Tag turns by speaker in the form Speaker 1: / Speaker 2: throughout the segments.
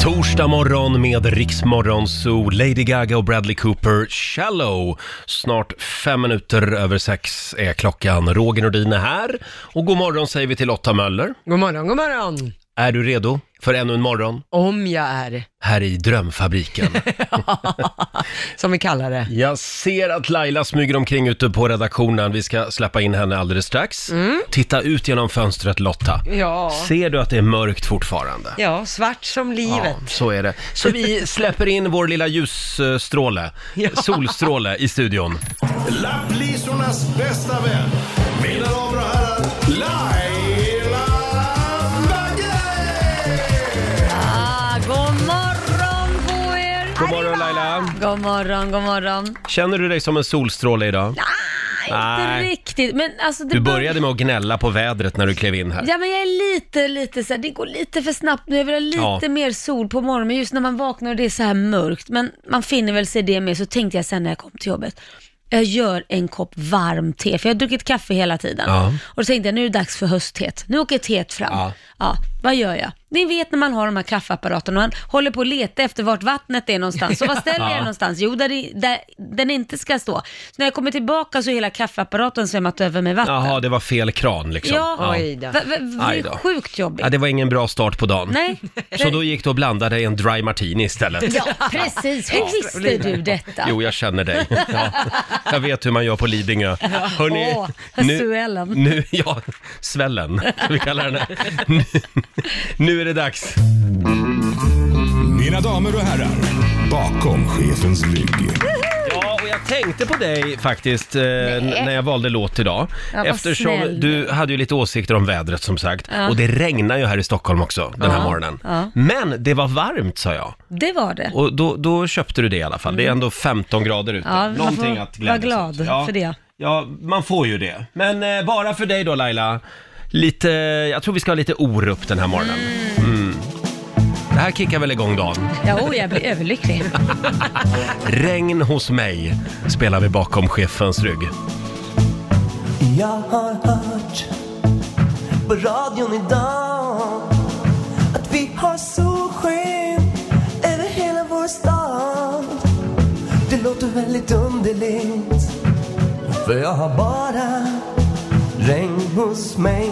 Speaker 1: Torsdag morgon med Riksmorgon Zoo, Lady Gaga och Bradley Cooper, Shallow. Snart fem minuter över sex är klockan. Roger Nordin är här och god morgon säger vi till Lotta Möller.
Speaker 2: God morgon, god morgon.
Speaker 1: Är du redo för ännu en morgon
Speaker 2: Om jag är,
Speaker 1: här i drömfabriken?
Speaker 2: som vi kallar det.
Speaker 1: Jag ser att Laila smyger omkring ute på redaktionen. Vi ska släppa in henne alldeles strax. Titta ut genom fönstret Lotta.
Speaker 2: Ja.
Speaker 1: Ser du att det är mörkt fortfarande?
Speaker 2: Ja, svart som livet.
Speaker 1: Ja, så är det. Så vi släpper in vår lilla ljusstråle,
Speaker 2: Ja.
Speaker 1: solstråle i studion.
Speaker 3: Lapplisornas bästa vän. Mina damer och herrar, Laila Bagge!
Speaker 4: Ah, god morgon på er!
Speaker 1: God morgon Laila!
Speaker 4: God morgon, god morgon.
Speaker 1: Känner du dig som en solstråle idag?
Speaker 4: Inte riktigt, men alltså det
Speaker 1: Du
Speaker 4: bör-
Speaker 1: började med att gnälla på vädret när du klev in här.
Speaker 4: Ja men jag är lite, lite så här, det går lite för snabbt nu. Jag vill ha lite
Speaker 1: Ja.
Speaker 4: mer sol på morgonen, men just när man vaknar och det är så här mörkt, men man finner väl sig i det med, så tänkte jag sen när jag kom till jobbet, jag gör en kopp varm te, för jag har druckit kaffe hela tiden.
Speaker 1: Ja.
Speaker 4: Och då tänkte jag, nu är det dags för höstet. Nu åker teet fram.
Speaker 1: Ja.
Speaker 4: Ja. vad gör jag? Ni vet när man har de här kaffeapparaterna och man håller på att leta efter vart vattnet är någonstans. Så vad ställer jag
Speaker 1: Ja.
Speaker 4: den någonstans? Jo, där, i- där den inte ska stå. Så när jag kommer tillbaka så är hela kaffeapparaten svämmat över med vatten.
Speaker 1: Jaha, det var fel kran liksom.
Speaker 4: Ja,
Speaker 2: Oj då.
Speaker 4: Va, va, va,
Speaker 1: Aj
Speaker 4: det
Speaker 1: då.
Speaker 4: är sjukt jobbigt.
Speaker 1: Ja, det var ingen bra start på dagen.
Speaker 4: Nej.
Speaker 1: Så då gick du och blandade i en dry martini istället.
Speaker 4: Ja, precis. Hur visste du detta?
Speaker 1: Jo, jag känner dig. Ja. Jag vet hur man gör på Lidingö. Hörrni,
Speaker 4: Åh,
Speaker 1: nu,
Speaker 4: svällen.
Speaker 1: nu, ja, svällen, som vi kallar den. här. Nu, nu är det dags.
Speaker 3: Mina damer och herrar, bakom chefens rygg.
Speaker 1: Ja, och jag tänkte på dig faktiskt eh, n- när jag valde låt idag.
Speaker 4: vad
Speaker 1: Eftersom
Speaker 4: snäll.
Speaker 1: du hade ju lite åsikter om vädret som sagt. Och det regnar ju här i Stockholm också den här
Speaker 4: Ja,
Speaker 1: morgonen.
Speaker 4: ja.
Speaker 1: Men det var varmt sa jag.
Speaker 4: Det var det.
Speaker 1: Och då, då köpte du det i alla fall. Det är ändå 15 grader ute.
Speaker 4: Mm. Ja, man får
Speaker 1: Någonting att glädjas
Speaker 4: vara
Speaker 1: åt.
Speaker 4: glad för det.
Speaker 1: Ja, man får ju det. Men eh, bara för dig då Laila. Lite, jag tror vi ska ha lite Orup den här morgonen. Mm. Det här kickar väl igång dagen.
Speaker 4: Ja, oh, jag blir överlycklig.
Speaker 1: Regn hos mig spelar vi bakom chefens rygg.
Speaker 5: Jag har hört på radion idag att vi har solsken över hela vår stad. Det låter väldigt underligt för jag har bara regn hos mig.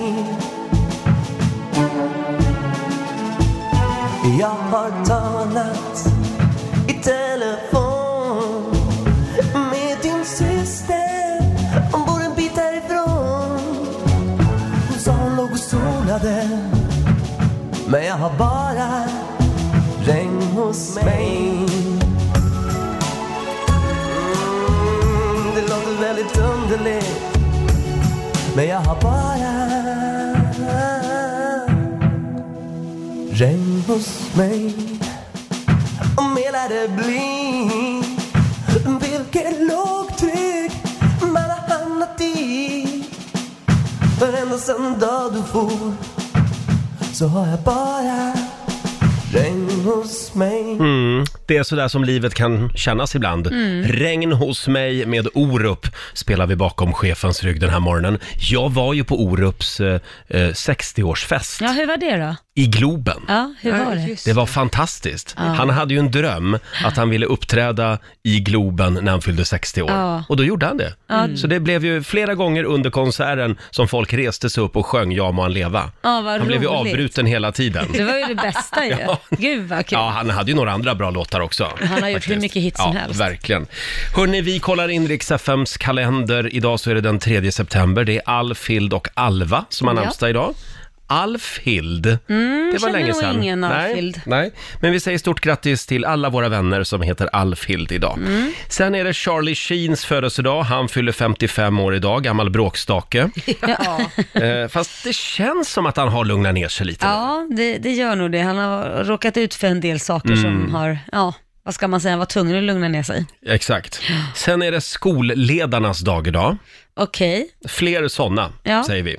Speaker 5: Jag har talat i telefon med din syster Hon bor en bit härifrån Hon sa hon låg och solade Men jag har bara regn hos mig mm, Det låter väldigt underligt Men jag har bara regn hos mig om hela det blir Vilket lågtryck man har hamnat i Varenda söndag du får så har jag bara regn hos mig
Speaker 6: Mm.
Speaker 1: Det är sådär som livet kan kännas ibland.
Speaker 4: Mm.
Speaker 1: Regn hos mig med Orup spelar vi bakom chefens rygg den här morgonen. Jag var ju på Orups eh, eh, 60-årsfest
Speaker 4: Ja, hur var det då?
Speaker 1: i Globen.
Speaker 4: Ja, hur var det?
Speaker 1: Det var fantastiskt. Han hade ju en dröm att han ville uppträda i Globen när han fyllde 60 år.
Speaker 4: Ja.
Speaker 1: Och då gjorde han det. Så det blev ju flera gånger under konserten som folk reste sig upp och sjöng Ja må han leva.
Speaker 4: Ja, vad
Speaker 1: han blev ju
Speaker 4: roligt.
Speaker 1: avbruten hela tiden.
Speaker 4: Det var ju det bästa ju. Gud vad kul.
Speaker 1: Ja, han hade ju några andra bra låtar också.
Speaker 4: har gjort hur mycket hits som
Speaker 1: ja,
Speaker 4: helst.
Speaker 1: verkligen. Hörni, vi kollar in Rix FMs kalender. Idag så är det den 3 september. Det är Alfhild och Alva som har
Speaker 4: Ja. Mm,
Speaker 1: namnsdag idag. Alfhild, det var
Speaker 4: känner
Speaker 1: länge
Speaker 4: nog
Speaker 1: sedan.
Speaker 4: ingen Alfhild.
Speaker 1: Nej, nej, men vi säger stort grattis till alla våra vänner som heter Alfhild idag.
Speaker 4: Mm.
Speaker 1: Sen är det Charlie Sheens födelsedag. Han fyller 55 år idag, gammal bråkstake. eh, fast det känns som att han har lugnat ner sig lite. nu.
Speaker 4: Ja, det, det gör nog det. Han har råkat ut för en del saker som har, ja, vad ska man säga, var tvungen att lugna ner sig.
Speaker 1: Exakt. Sen är det skolledarnas dag idag.
Speaker 4: Okej.
Speaker 1: Fler sådana,
Speaker 4: Ja.
Speaker 1: säger vi.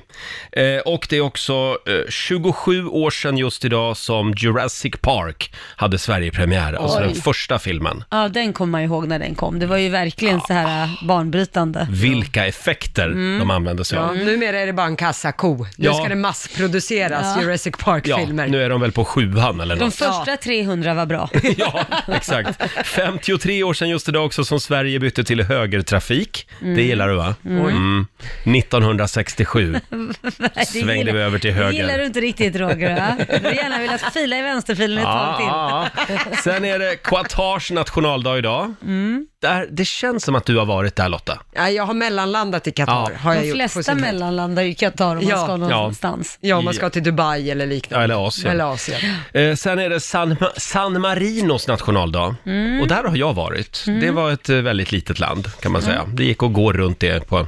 Speaker 1: Eh, och det är också eh, 27 år sedan just idag som Jurassic Park hade Sverigepremiär, alltså
Speaker 4: Oj.
Speaker 1: den första filmen.
Speaker 4: Ja, den kommer man ihåg när den kom. Det var ju verkligen så här äh, barnbrytande.
Speaker 1: Vilka effekter
Speaker 4: Mm.
Speaker 1: de använde sig
Speaker 2: Ja,
Speaker 1: av.
Speaker 2: numera är det bara en kassako. Nu
Speaker 1: Ja.
Speaker 2: ska det massproduceras
Speaker 4: Ja.
Speaker 2: Jurassic
Speaker 1: Ja,
Speaker 2: Park-filmer.
Speaker 1: nu är de väl på sjuan eller
Speaker 4: De
Speaker 1: något.
Speaker 4: första 300 var bra.
Speaker 1: Ja, exakt. 53 år sedan just idag också som Sverige bytte till högertrafik. Det gillar du va? Mm. 1967.
Speaker 4: Nej, det
Speaker 1: Svängde vi över till
Speaker 4: det
Speaker 1: höger.
Speaker 4: gillar du inte riktigt Roger. va? Du hade gärna velat fila i vänsterfilen ett tag till.
Speaker 1: Ja, ja, ja. Ah, Sen är det Qatar's nationaldag idag. Där, det känns som att du har varit där Lotta.
Speaker 2: Ja, jag har mellanlandat i Qatar,
Speaker 1: Ja.
Speaker 2: har jag
Speaker 4: De
Speaker 2: gjort. på
Speaker 4: flesta
Speaker 2: sin tid.
Speaker 4: mellanlandar ju i Qatar om man
Speaker 2: Ja.
Speaker 4: ska någonstans.
Speaker 2: Ja, om man ska till Dubai eller liknande.
Speaker 1: Ja, eller Asien.
Speaker 2: Eller Asien.
Speaker 1: Eh, sen är det San, Ma- San Marinos nationaldag. Och där har jag varit. Det var ett eh, väldigt litet land kan man säga. Det gick att gå runt det på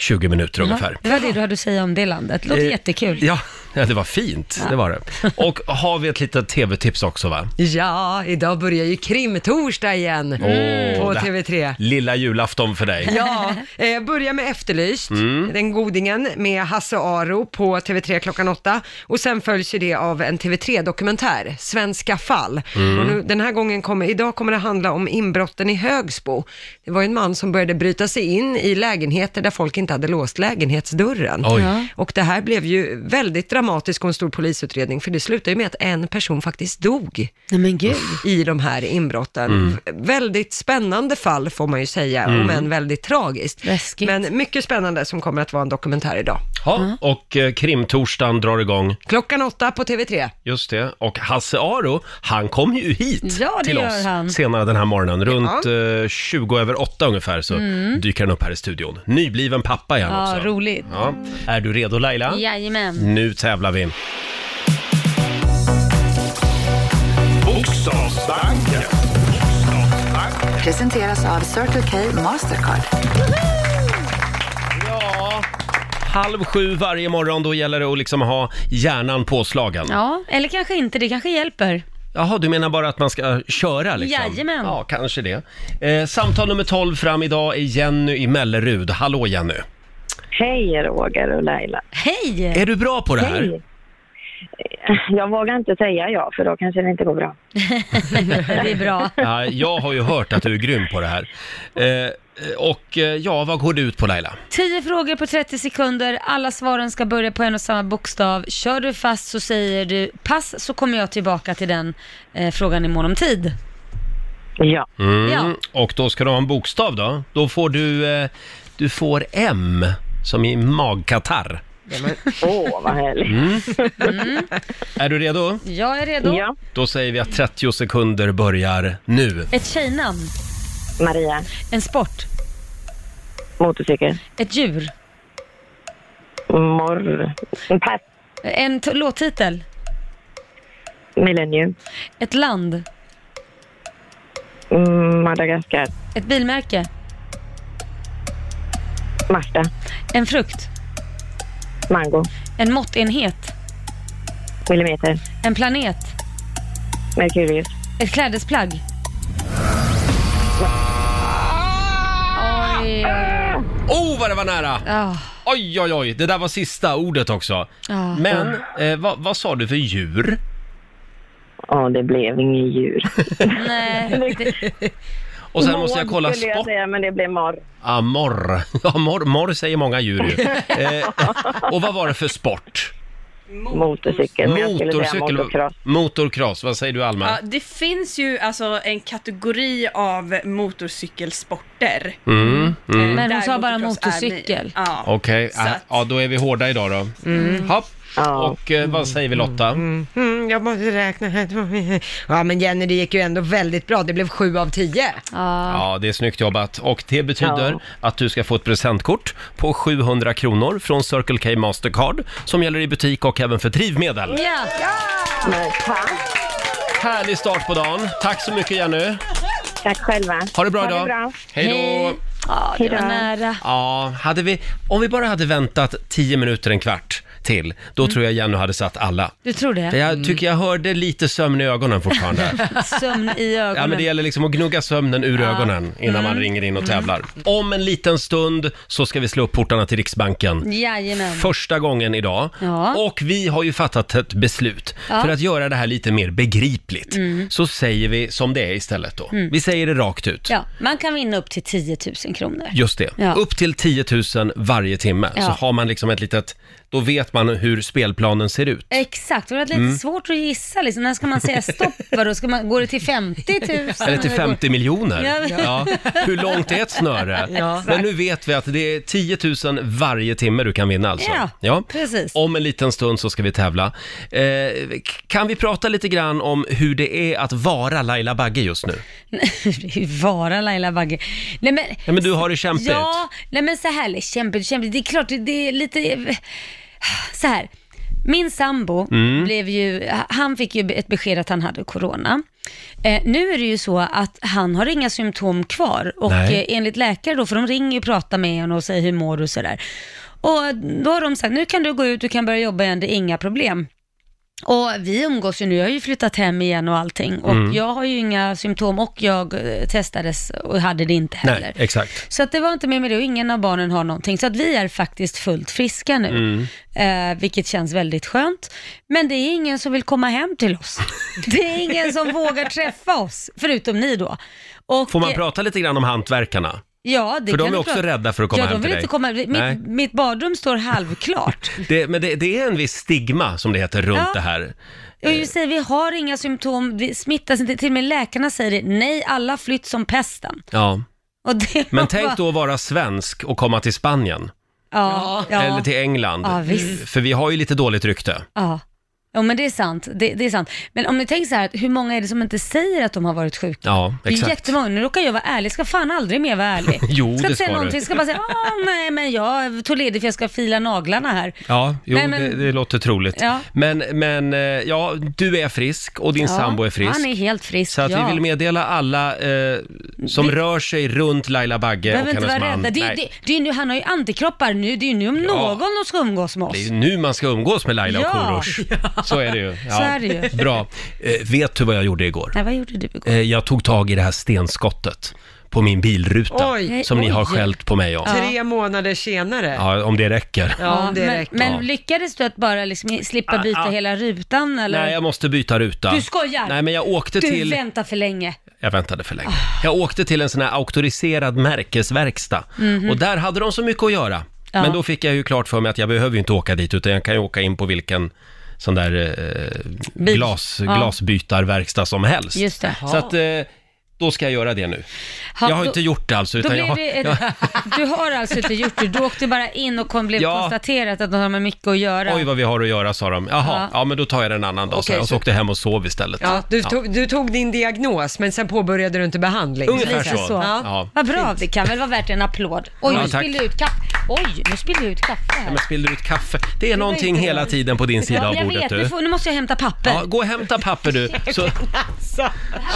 Speaker 1: 20 minuter ungefär.
Speaker 4: Det var det du hade att säga om Mm. det landet. Låter
Speaker 1: Eh,
Speaker 4: jättekul.
Speaker 1: Ja, ja, det var fint. Det var det. Och har vi ett litet tv-tips också va?
Speaker 2: Ja, idag börjar ju krimtorsdag igen Mm, på
Speaker 1: Åh, det-
Speaker 2: TV3.
Speaker 1: Lilla julafton för dig.
Speaker 2: Ja, eh, börja med Efterlyst, den godingen med Hasse Aro på TV3 klockan åtta. Och sen följs ju det av en TV3-dokumentär, Svenska fall. Och nu, den här gången kommer, idag kommer det handla om inbrotten i Högsbo. Det var ju en man som började bryta sig in i lägenheter där folk inte hade låst lägenhetsdörren.
Speaker 1: Oj.
Speaker 2: Och det här blev ju väldigt dramatiskt och en stor polisutredning, för det slutade ju med att en person faktiskt dog
Speaker 4: Nej men gud.
Speaker 2: i de här inbrotten. V-
Speaker 1: Mm.
Speaker 2: Väldigt spännande fall får man ju säga, om än väldigt tragiskt.
Speaker 4: Läskigt.
Speaker 2: Men mycket spännande som kommer att vara en dokumentär idag.
Speaker 1: Ja, och eh, krimtorsdagen drar igång.
Speaker 2: Klockan åtta på TV3.
Speaker 1: Just det. Och Hasse Aro, han kom ju hit
Speaker 4: Ja, det
Speaker 1: till
Speaker 4: gör
Speaker 1: oss
Speaker 4: han.
Speaker 1: senare den här morgonen. Runt eh, 20 över 8 ungefär så dyker han upp här i studion. Nybliven pappa är han
Speaker 4: Mm. Ja,
Speaker 1: också.
Speaker 4: roligt.
Speaker 1: Ja. Är du redo Laila?
Speaker 4: Jajamän.
Speaker 1: Nu tävlar vi.
Speaker 3: Bokstavsbanken.
Speaker 7: Presenteras av Circle K Mastercard.
Speaker 1: Ja, halv sju varje morgon, då gäller det att liksom ha hjärnan påslagen.
Speaker 4: Ja, eller kanske inte. Det kanske hjälper.
Speaker 1: Jaha, du menar bara att man ska köra liksom?
Speaker 4: Jajamän.
Speaker 1: Ja, kanske det. Eh, samtal nummer 12 fram idag är Jenny i Mellerud. Hallå Jenny!
Speaker 8: Hej Roger och Laila.
Speaker 4: Hej!
Speaker 1: Är du bra på det här?
Speaker 8: Hej. Jag vågar inte säga ja, för då kanske det inte går bra.
Speaker 4: Det är bra.
Speaker 1: Ja, jag har ju hört att du är grym på det här. Eh, och eh, ja, vad går det ut på Laila?
Speaker 4: 10 frågor på 30 sekunder. Alla svaren ska börja på en och samma bokstav. Kör du fast så säger du pass så kommer jag tillbaka till den eh, frågan i mån om tid.
Speaker 8: Ja.
Speaker 1: Mm.
Speaker 4: Ja.
Speaker 1: Och då ska du ha en bokstav då. Då får du, eh, du får M, som i magkatarr.
Speaker 8: Åh, vad härligt.
Speaker 1: Är du redo?
Speaker 4: Jag är redo.
Speaker 8: Ja.
Speaker 1: Då säger vi att 30 sekunder börjar nu.
Speaker 4: Ett tjejnamn.
Speaker 8: Maria,
Speaker 4: En sport.
Speaker 8: motorcykel.
Speaker 4: Ett djur.
Speaker 8: Morr. Pass.
Speaker 4: En t- låttitel.
Speaker 8: Millennium.
Speaker 4: Ett land.
Speaker 8: Mm, Madagaskar.
Speaker 4: Ett bilmärke.
Speaker 8: Marta.
Speaker 4: En frukt.
Speaker 8: Mango.
Speaker 4: En måttenhet.
Speaker 8: Millimeter.
Speaker 4: En planet.
Speaker 8: Merkurius.
Speaker 4: Ett klädesplagg. Oj.
Speaker 1: Oh, vad det var nära!
Speaker 4: Ah.
Speaker 1: Oj, oj, oj, det där var sista ordet också.
Speaker 4: Ja.
Speaker 1: Men, eh, vad, vad sa du för djur?
Speaker 8: Ja, det blev inget djur.
Speaker 4: Nej. Det,
Speaker 1: Och sen måste jag
Speaker 8: Mård
Speaker 1: kolla
Speaker 8: skulle jag
Speaker 1: sport.
Speaker 8: säga, men det blev morr.
Speaker 1: Ah, morr. Ja, morr, morr säger många djur ju. Eh, och vad var det för sport?
Speaker 8: Motorcykel. Men jag skulle säga motocross.
Speaker 1: Motorcross, vad säger du Alma?
Speaker 9: Ja, det finns ju alltså en kategori av motorcykelsporter. Eh,
Speaker 4: Men hon
Speaker 9: Där
Speaker 4: sa bara
Speaker 9: motocross är med.
Speaker 4: motorcykel.
Speaker 9: Ja.
Speaker 1: Okej,
Speaker 9: Så att-
Speaker 1: ja då är vi hårda idag då. Hopp.
Speaker 8: Ja.
Speaker 1: Och eh, vad säger vi Lotta?
Speaker 2: Mm, jag måste räkna här. Ja, men Jenny, det gick ju ändå väldigt bra. Det blev sju av tio.
Speaker 4: Ja.
Speaker 1: Ja, det är snyggt jobbat. Och det betyder
Speaker 8: Ja.
Speaker 1: att du ska få ett presentkort på 700 kronor från Circle K Mastercard som gäller i butik och även för drivmedel.
Speaker 4: Ja.
Speaker 8: Men pass.
Speaker 1: Härlig start på dagen. Tack så mycket Jenny.
Speaker 8: Tack själva.
Speaker 1: Ha det bra idag.
Speaker 8: bra.
Speaker 1: Hej då.
Speaker 4: Hej. Ja, Ah, det var
Speaker 8: Hejdå.
Speaker 4: nära.
Speaker 1: Ja, hade vi, om vi bara hade väntat 10 minuter, en kvart till, då tror jag Jenny hade satt alla.
Speaker 4: Du tror det?
Speaker 1: För jag tycker jag hörde lite sömn i ögonen fortfarande.
Speaker 4: Sömn i ögonen.
Speaker 1: Ja, men det gäller liksom att gnugga sömnen ur ögonen innan
Speaker 4: Mm.
Speaker 1: man ringer in och tävlar. Om en liten stund så ska vi slå upp portarna till Riksbanken.
Speaker 4: Jajamän.
Speaker 1: Första gången idag.
Speaker 4: Ja.
Speaker 1: Och vi har ju fattat ett beslut.
Speaker 4: Ja. Mm.
Speaker 1: För att göra det här lite mer begripligt så säger vi som det är istället då. Vi säger det rakt ut.
Speaker 4: Ja, man kan vinna upp till 10 000 kronor.
Speaker 1: Just det.
Speaker 4: Ja.
Speaker 1: Upp till 10 000 varje timme. Så
Speaker 4: Ja.
Speaker 1: har man liksom ett litet, då vet man hur spelplanen ser ut.
Speaker 4: Exakt, och det är lite
Speaker 1: Mm.
Speaker 4: svårt att gissa liksom. När ska man säga stopp? Vadå, ska man, går det till 50 000?
Speaker 1: Eller till
Speaker 4: går-
Speaker 1: 50 miljoner.
Speaker 4: Ja.
Speaker 1: Ja. Hur långt är ett snöre? Men nu vet vi att det är 10 000 varje timme du kan vinna alltså.
Speaker 4: Ja, precis.
Speaker 1: Om en liten stund så ska vi tävla. Eh, k- kan vi prata lite grann om hur det är att vara Laila Bagge just nu?
Speaker 4: Det är ju Vara Laila Bagge. Nej men,
Speaker 1: Ja, men du har det kämpigt.
Speaker 4: ja, nej men så här, kämpigt, kämpigt. Det är klart, det- det är lite, så här. Min sambo
Speaker 1: Mm.
Speaker 4: blev ju, han fick ju ett besked att han hade corona. Eh, nu är det ju så att han har inga symptom kvar och
Speaker 1: Nej.
Speaker 4: eh, enligt läkare då, för de ringer ju och pratar med honom och säger hur mår du och sådär. Och då har de sagt, nu kan du gå ut, du kan börja jobba igen, det är inga problem. Och vi umgås ju nu, jag har ju flyttat hem igen och allting och
Speaker 1: Mm.
Speaker 4: jag har ju inga symptom och jag eh, testades och hade det inte heller.
Speaker 1: Nej, exakt.
Speaker 4: Så att det var inte mer med det och ingen av barnen har någonting. Så att vi är faktiskt fullt friska nu,
Speaker 1: Mm.
Speaker 4: eh, vilket känns väldigt skönt. Men det är ingen som vill komma hem till oss. Det är ingen som vågar träffa oss, förutom ni då. Och,
Speaker 1: Får man
Speaker 4: eh,
Speaker 1: prata lite grann om hantverkarna?
Speaker 4: Ja, det
Speaker 1: För de
Speaker 4: kan
Speaker 1: är
Speaker 4: du
Speaker 1: också
Speaker 4: prata-
Speaker 1: rädda för att komma
Speaker 4: ja,
Speaker 1: hem till
Speaker 4: de vill
Speaker 1: dig.
Speaker 4: inte komma.
Speaker 1: Nej.
Speaker 4: Mitt, mitt badrum står halvklart.
Speaker 1: Det, men det, det är en viss stigma som det heter runt
Speaker 4: Ja.
Speaker 1: det här.
Speaker 4: Och jag säger, vi har inga symptom, vi smittas inte. Till och med läkarna säger det. Nej, alla flytt som pesten.
Speaker 1: Ja.
Speaker 4: Och det
Speaker 1: Men
Speaker 4: var-
Speaker 1: tänk då att vara svensk och komma till Spanien.
Speaker 4: Ja, ja.
Speaker 1: Eller till England.
Speaker 4: Ja, visst.
Speaker 1: För vi har ju lite dåligt rykte.
Speaker 4: Ja. Ja men det är sant, det, det är sant. Men om ni tänker så här, att hur många är det som inte säger att de har varit sjuka?
Speaker 1: Ja,
Speaker 4: Det är
Speaker 1: exakt.
Speaker 4: jättemånga, nu råkar jag vara ärlig, ska fan aldrig mer vara ärlig.
Speaker 1: Jo, det
Speaker 4: ska inte
Speaker 1: ska
Speaker 4: säga
Speaker 1: du.
Speaker 4: någonting, ska bara säga, "Ah, nej men jag tog ledigt för jag ska fila naglarna här.
Speaker 1: Ja, jo,
Speaker 4: Nej, men-
Speaker 1: Det, det låter troligt.
Speaker 4: Ja.
Speaker 1: Men, men eh, ja, du är frisk och din sambo är frisk.
Speaker 4: Han är helt frisk,
Speaker 1: Så att
Speaker 4: ja.
Speaker 1: vi vill meddela alla eh, som rör sig runt Laila Bagge och
Speaker 4: Behöver inte
Speaker 1: hennes
Speaker 4: vara
Speaker 1: man.
Speaker 4: rädda. Det, är ju-
Speaker 1: Nej.
Speaker 4: det, det är ju nu, han har ju antikroppar nu, det är ju nu om någon som ska umgås med oss.
Speaker 1: Det är ju nu man ska umgås med Laila och
Speaker 4: Ja.
Speaker 1: Korosh. Så är det ju. Ja.
Speaker 4: Så är det ju.
Speaker 1: Bra. Eh, vet du vad jag gjorde igår?
Speaker 4: Nej, vad gjorde du igår?
Speaker 1: Eh, jag tog tag i det här stenskottet på min bilruta
Speaker 2: Oj.
Speaker 1: som ni har
Speaker 4: Oj.
Speaker 1: skällt på mig om. Ja.
Speaker 2: Tre månader senare. Ja,
Speaker 1: om det räcker.
Speaker 2: om det
Speaker 4: men,
Speaker 2: räcker.
Speaker 1: Ja.
Speaker 4: men lyckades du att bara liksom slippa byta
Speaker 1: ah.
Speaker 4: hela rutan eller?
Speaker 1: Nej, jag måste byta ruta.
Speaker 4: Du skojar?
Speaker 1: Nej, men jag åkte
Speaker 4: du
Speaker 1: till...
Speaker 4: väntar för länge.
Speaker 1: Jag väntade för länge. Jag åkte till en sån här auktoriserad märkesverkstad och där hade de så mycket att göra.
Speaker 4: Mhm. Ja.
Speaker 1: Men då fick jag ju klart för mig att jag behöver ju inte åka dit utan jag kan ju åka in på vilken sån där eh,
Speaker 4: Bil.
Speaker 1: glas,
Speaker 4: Ja.
Speaker 1: glasbytarverkstad som helst.
Speaker 4: Just det.
Speaker 1: Så att eh, då ska jag göra det nu.
Speaker 4: Ha,
Speaker 1: jag har
Speaker 4: då-
Speaker 1: inte gjort det alltså
Speaker 4: Då
Speaker 1: utan jag
Speaker 4: blev
Speaker 1: har...
Speaker 4: det ett, Du har alltså inte gjort det, du åkte bara in och kom, blev
Speaker 1: Ja.
Speaker 4: konstaterat att de har mycket att göra.
Speaker 1: Oj vad vi har att göra sa de. Jaha, ja,
Speaker 4: Ja.
Speaker 1: men då tar jag det en annan dag. så
Speaker 2: Okej,
Speaker 1: jag och så
Speaker 2: så-
Speaker 1: åkte jag hem och sov istället.
Speaker 2: Ja, du, tog, du tog din diagnos, men sen påbörjade du inte behandling.
Speaker 1: Ungefär
Speaker 4: Lite
Speaker 1: så.
Speaker 4: så.
Speaker 1: Ja.
Speaker 4: Vad bra, det kan väl vara värt en applåd. Oj,
Speaker 1: Ja,
Speaker 4: nu
Speaker 1: tack.
Speaker 4: spillde jag ut kaffe. Oj, nu spillde jag ut kaffe här.
Speaker 1: Men spiller ut kaffe. Det är någonting
Speaker 4: inte
Speaker 1: hela
Speaker 4: jag.
Speaker 1: tiden på din sida
Speaker 4: Ja,
Speaker 1: av
Speaker 4: jag
Speaker 1: bordet
Speaker 4: vet,
Speaker 1: du.
Speaker 4: nu, får, nu måste jag hämta papper.
Speaker 1: Ja, gå och hämta papper du. Så,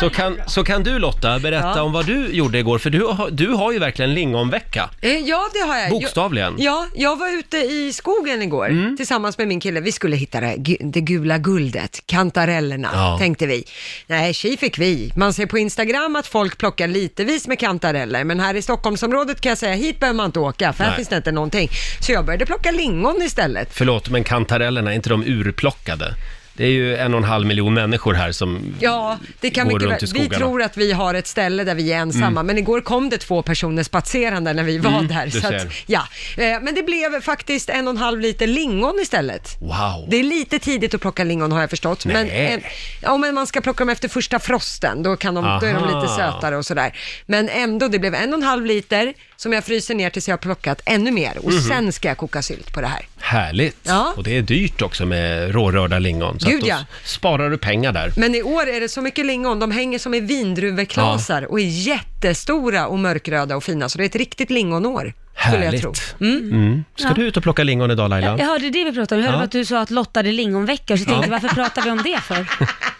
Speaker 1: så, kan, så kan du Lotta berätta om vad du gjorde igår, för du har, du har ju verkligen lingonvecka.
Speaker 2: Eh, Ja, det har jag.
Speaker 1: Bokstavligen.
Speaker 2: Jag, ja, jag var ute i skogen igår
Speaker 1: Mm.
Speaker 2: tillsammans med min kille. Vi skulle hitta det, gu- det gula guldet, kantarellerna,
Speaker 1: Ja.
Speaker 2: tänkte vi. Nej, tji fick vi. Man ser på Instagram att folk plockar litevis med kantareller, men här i Stockholmsområdet kan jag säga, hit behöver man inte åka, för
Speaker 1: Nej.
Speaker 2: här finns det inte någonting. Så jag började plocka lingon istället.
Speaker 1: Förlåt, men kantarellerna, är inte de urplockade? Det är ju en och en halv miljon människor här som...
Speaker 2: Ja, det kan
Speaker 1: går
Speaker 2: mycket
Speaker 1: runt i
Speaker 2: väl. Vi
Speaker 1: skogarna. Mm.
Speaker 2: tror att vi har ett ställe där vi är ensamma, men igår kom det två personer spatserande när vi var där.
Speaker 1: du
Speaker 2: Så att,
Speaker 1: ser.
Speaker 2: ja. Eh, Men det blev faktiskt en och en halv liter lingon istället.
Speaker 1: Wow!
Speaker 2: Det är lite tidigt att plocka lingon har jag förstått. Men,
Speaker 1: Nej.
Speaker 2: eh, ja, men man ska plocka dem efter första frosten, då, kan de, då är de
Speaker 1: Aha.
Speaker 2: lite sötare och sådär. Men ändå, det blev en och en halv liter som jag fryser ner tills jag har plockat ännu mer
Speaker 1: Mhm.
Speaker 2: och sen ska jag koka sylt på det här.
Speaker 1: Härligt!
Speaker 2: Ja.
Speaker 1: Och det är dyrt också med rårörda lingon. Så
Speaker 2: Gud,
Speaker 1: att då
Speaker 2: ja.
Speaker 1: s- sparar du pengar där.
Speaker 2: Men i år är det så mycket lingon, de hänger som i vindruveklasar och är jättestora och mörkröda och fina, så det är ett riktigt lingonår. skulle jag
Speaker 1: Härligt.
Speaker 2: tro.
Speaker 4: Mm.
Speaker 1: Mm. Ska
Speaker 4: Ja.
Speaker 1: du ut och plocka lingon idag Laila?
Speaker 4: Jag hörde det vi pratade om. Jag hörde
Speaker 1: Ja.
Speaker 4: att du sa att Lotta det är lingonveckor, så jag tänkte varför pratar vi om det för?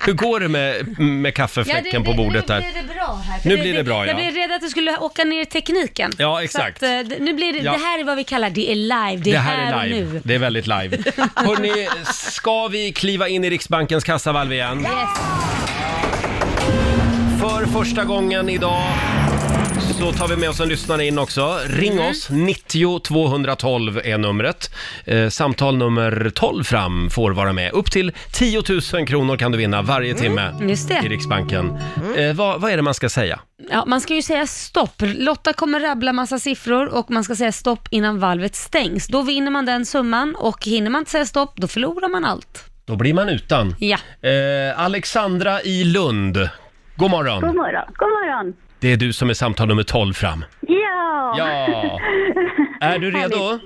Speaker 1: Hur går det med, med kaffefläcken på bordet
Speaker 4: nu
Speaker 1: där?
Speaker 4: blir det bra här.
Speaker 1: för Nu det- blir det bra,
Speaker 4: Jag
Speaker 1: ja.
Speaker 4: blev rädd att du skulle åka ner i tekniken.
Speaker 1: Ja, exakt.
Speaker 4: Så att, eh, d- nu blir det,
Speaker 1: Ja.
Speaker 4: det här är vad vi kallar, det är live, det är här,
Speaker 1: är live.
Speaker 4: och nu.
Speaker 1: Det är väldigt live. Hörni, ska vi kliva in i Riksbankens kassavalv igen?
Speaker 4: Yes.
Speaker 1: För första gången idag så tar vi med oss en lyssnare in också. Ring
Speaker 4: Mm.
Speaker 1: oss, 90 212 är numret. Eh, samtal nummer 12 fram får vara med. Upp till 10 000 kronor kan du vinna varje timme
Speaker 4: Mm, just det. Mm.
Speaker 1: i Riksbanken. Eh, vad, vad är det man ska säga?
Speaker 4: Ja, man ska ju säga stopp. Lotta kommer rabbla massa siffror och man ska säga stopp innan valvet stängs. Då vinner man den summan och hinner man inte säga stopp, då förlorar man allt.
Speaker 1: Då blir man utan.
Speaker 4: Ja.
Speaker 1: Eh, Alexandra i Lund, god
Speaker 10: God
Speaker 1: morgon.
Speaker 10: morgon. God morgon.
Speaker 1: Det är du som är samtal nummer 12 fram.
Speaker 10: Ja!
Speaker 1: Ja. Är du redo?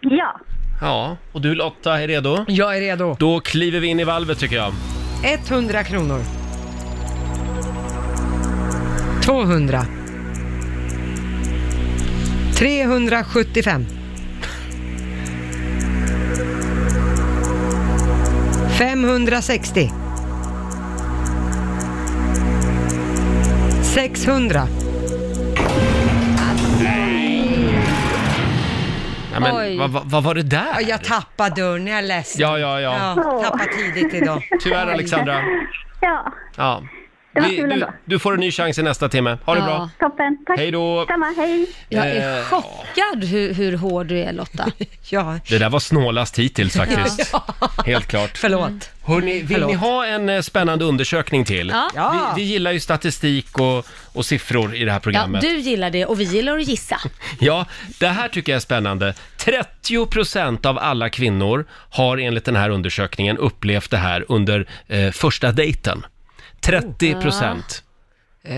Speaker 10: Ja.
Speaker 1: Ja, och du Lotta är redo?
Speaker 2: Jag är redo.
Speaker 1: Då kliver vi in i valvet tycker jag.
Speaker 2: 100 kronor. 200. 375. 560. 600.
Speaker 1: Ja, men,
Speaker 2: Oj.
Speaker 1: vad, vad, vad var det där?
Speaker 2: Ja, Jag tappade dörren, jag är ledsen.
Speaker 1: Ja, ja, ja.
Speaker 2: tappade tidigt idag.
Speaker 1: Tyvärr Alexandra.
Speaker 10: Ja.
Speaker 1: Ja.
Speaker 10: Det var
Speaker 1: Vi,
Speaker 10: kul
Speaker 1: du,
Speaker 10: ändå.
Speaker 1: du får en ny chans i nästa timme. Ha det
Speaker 4: Ja.
Speaker 1: bra.
Speaker 10: Toppen. Tack.
Speaker 1: Hej då.
Speaker 10: Samma. Hej.
Speaker 4: Jag är
Speaker 1: Eh,
Speaker 4: chockad hur, hur hård du är Lotta.
Speaker 2: ja.
Speaker 1: Det där var snålast hittills faktiskt. Helt klart.
Speaker 2: Förlåt.
Speaker 1: Hörrni, vill
Speaker 2: Förlåt.
Speaker 1: ni ha en eh, spännande undersökning till?
Speaker 4: Ja.
Speaker 2: Ja.
Speaker 1: Vi, vi gillar ju statistik och, och siffror i det här
Speaker 4: Ja,
Speaker 1: programmet.
Speaker 4: du gillar det och vi gillar att gissa.
Speaker 1: Ja, det här tycker jag är spännande. 30% av alla kvinnor har enligt den här undersökningen upplevt det här under eh, första dejten. 30%.
Speaker 2: Eh,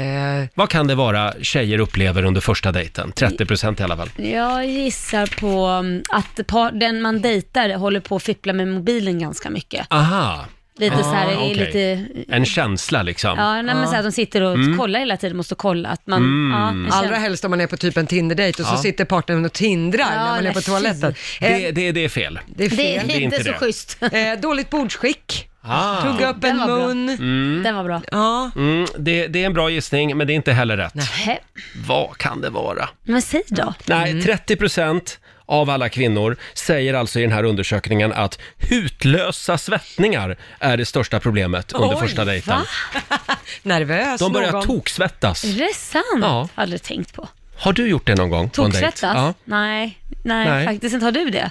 Speaker 1: Vad kan det vara tjejer upplever under första dejten? 30% i alla fall.
Speaker 4: Jag gissar på mm, att par, den man dejtar håller på att fippla med mobilen ganska mycket.
Speaker 1: Aha,
Speaker 4: Lite så här,
Speaker 1: Ah,
Speaker 4: är
Speaker 1: okej.
Speaker 4: lite...
Speaker 1: en känsla liksom.
Speaker 4: Ja, nej, men så här, de sitter och
Speaker 1: Mm.
Speaker 4: kollar hela tiden, måste kolla att man...
Speaker 1: Mm.
Speaker 4: Ja, det känns-
Speaker 2: Allra helst om man är på typ en Tinder-dejt och
Speaker 1: Ja.
Speaker 2: så sitter partnern och tindrar
Speaker 4: Ja,
Speaker 2: när man är
Speaker 4: nej,
Speaker 2: på toaletten. Eh,
Speaker 1: Det, det, det är fel.
Speaker 2: det är fel.
Speaker 4: det är
Speaker 1: Det är
Speaker 4: inte
Speaker 1: inte
Speaker 4: så
Speaker 1: det.
Speaker 4: schysst.
Speaker 2: Eh, dåligt bordsskick,
Speaker 1: Ah.
Speaker 2: tugga upp
Speaker 4: Den
Speaker 2: en
Speaker 4: var bra.
Speaker 2: mun.
Speaker 1: Mm.
Speaker 4: Den var bra.
Speaker 2: Ja.
Speaker 1: Mm, det, det är en bra gissning, men det är inte heller rätt.
Speaker 4: Hä?
Speaker 1: Vad kan det vara?
Speaker 4: Men säg då.
Speaker 1: Nej, 30 procent av alla kvinnor säger alltså i den här undersökningen att hutlösa svettningar är det största problemet under
Speaker 2: Oj,
Speaker 1: första dejten.
Speaker 4: va?
Speaker 2: Nervös
Speaker 1: De börjar
Speaker 2: någon.
Speaker 1: toksvettas.
Speaker 4: Är det sant?
Speaker 1: Ja.
Speaker 4: Aldrig tänkt på.
Speaker 1: Har du gjort det någon gång? på en dejt?
Speaker 4: Toksvettas? Nej, nej,
Speaker 1: Nej.
Speaker 4: faktiskt inte. Har du det?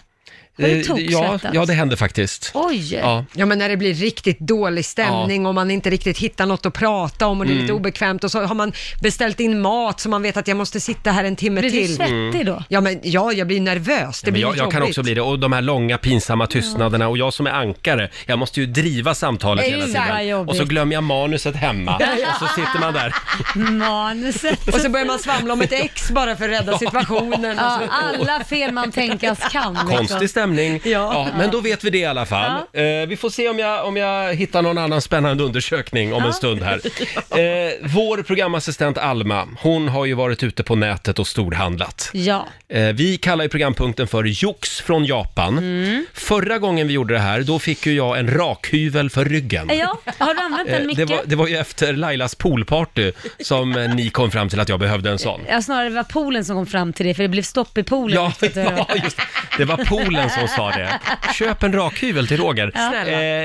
Speaker 4: Har du
Speaker 1: Eh, ja,
Speaker 4: toksvettats?
Speaker 1: ja, det händer faktiskt.
Speaker 4: Oj!
Speaker 1: Ja.
Speaker 2: Ja men när det blir riktigt dålig stämning och man inte riktigt hittar något att prata om och det är
Speaker 1: Mm.
Speaker 2: lite obekvämt och så har man beställt in mat så man vet att jag måste sitta här en timme
Speaker 4: Blir du
Speaker 1: Mm.
Speaker 2: till.
Speaker 4: svettig då?
Speaker 2: Ja men ja, jag blir nervös. Det
Speaker 1: Men
Speaker 2: blir
Speaker 1: jag, jag kan
Speaker 2: jobbigt.
Speaker 1: också bli det. Och de här långa pinsamma tystnaderna och jag som är ankare, jag måste ju driva samtalet hela
Speaker 4: Exakt. Vad
Speaker 1: tiden.
Speaker 4: jobbigt.
Speaker 1: Och så glömmer jag manuset hemma och så sitter man där.
Speaker 4: Manuset.
Speaker 2: Och så börjar man svamla om ett ex bara för att rädda situationen. Och
Speaker 4: Ja,
Speaker 2: så.
Speaker 4: alla fel man tänkas kan. liksom.
Speaker 1: Konstig stämning. Ja. men då vet vi det i alla fall. Eh, vi får se om jag, om jag hittar någon annan spännande undersökning om en stund här. Eh, vår programassistent Alma, hon har ju varit ute på nätet och storhandlat.
Speaker 4: Ja,
Speaker 1: Eh, vi kallar ju programpunkten för Jox från Japan.
Speaker 4: Mm.
Speaker 1: Förra gången vi gjorde det här, då fick ju jag en rakhyvel för ryggen.
Speaker 4: ja. Har du använt
Speaker 1: Eh,
Speaker 4: den mycket?
Speaker 1: Det var, det var ju efter Lailas poolparty som eh, ni kom fram till att jag behövde en sån.
Speaker 4: Ja, snarare det var poolen som kom fram till det, för det blev stopp i poolen.
Speaker 1: Ja,
Speaker 4: Tyckte jag.
Speaker 1: ja, just det. Det var poolen som sa det. Köp en rakhyvel till Roger.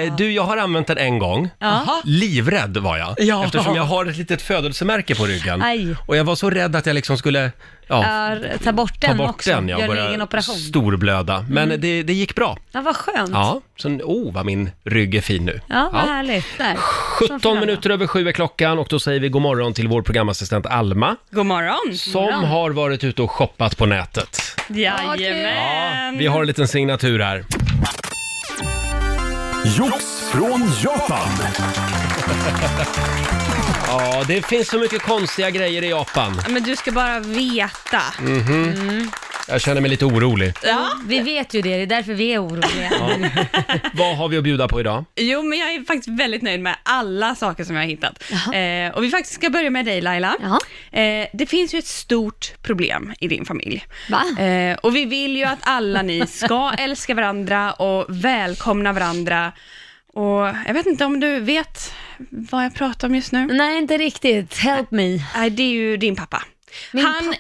Speaker 1: Eh, du, jag har använt den en gång.
Speaker 4: Jaha.
Speaker 1: Livrädd var jag,
Speaker 2: Ja.
Speaker 1: eftersom jag har ett litet födelsemärke på ryggen.
Speaker 4: Aj.
Speaker 1: Och jag var så rädd att jag liksom skulle ja,
Speaker 4: Ja, ta bort
Speaker 1: ta
Speaker 4: den
Speaker 1: bort
Speaker 4: också.
Speaker 1: den.
Speaker 4: Gör
Speaker 1: Jag
Speaker 4: en egen
Speaker 1: började
Speaker 4: operation. Mm.
Speaker 1: storblöda. Men det, det gick bra.
Speaker 4: Ja, vad skönt. Ja,
Speaker 1: Ja, så oh vad min rygg är fin nu.
Speaker 4: vad härligt. Där. Som
Speaker 1: 17
Speaker 4: Fernanda.
Speaker 1: minuter över sju är klockan och då säger vi god morgon till vår programassistent Alma
Speaker 9: God morgon.
Speaker 1: som har varit ute och shoppat på nätet.
Speaker 9: Jajamän.
Speaker 4: Ehm.
Speaker 1: Vi har en liten signatur här.
Speaker 3: Jox från Japan.
Speaker 1: Ja, det finns så mycket konstiga grejer i Japan.
Speaker 9: Men du ska bara veta.
Speaker 1: Jag känner mig lite orolig.
Speaker 4: Vi vet ju det, det är därför vi är oroliga.
Speaker 1: Vad har vi att bjuda på idag?
Speaker 11: Jo, men jag är faktiskt väldigt nöjd med alla saker som jag har hittat. Eh, och vi faktiskt ska börja med dig Laila.
Speaker 12: Jaha.
Speaker 11: Eh, det finns ju ett stort problem i din familj.
Speaker 12: Va?
Speaker 11: Eh, och vi vill ju att alla ni ska älska varandra och välkomna varandra. Och jag vet inte om du vet vad jag pratar om just nu?
Speaker 4: Nej, inte riktigt. Help me.
Speaker 11: Nej, det är ju din pappa.
Speaker 4: Min
Speaker 11: han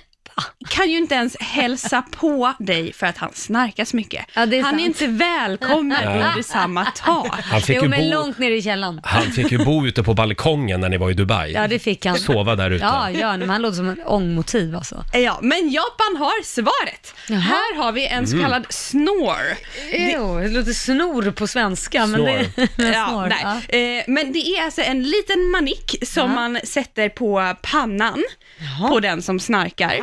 Speaker 11: kan ju inte ens hälsa på dig för att han snarkar så mycket.
Speaker 4: Ja, det är
Speaker 11: han
Speaker 4: sant.
Speaker 11: är inte välkommen under samma tak.
Speaker 1: Han fick,
Speaker 4: Jo,
Speaker 1: ju
Speaker 4: men
Speaker 1: bo,
Speaker 4: långt ner i källaren.
Speaker 1: han fick ju bo ute på balkongen när ni var i Dubai.
Speaker 4: Ja, det fick han.
Speaker 1: Sova där ute.
Speaker 4: Ja, ja, men han låter som en ångmotiv alltså.
Speaker 11: Ja, men Japan har svaret.
Speaker 4: Jaha.
Speaker 11: Här har vi en så kallad snore.
Speaker 4: Jo, det låter snor på svenska. Men
Speaker 1: Snår.
Speaker 4: det, men
Speaker 11: Ja,
Speaker 4: snår,
Speaker 11: nej.
Speaker 4: ja.
Speaker 11: Eh, Men det är alltså en liten manik som man sätter på pannan på den som snarkar.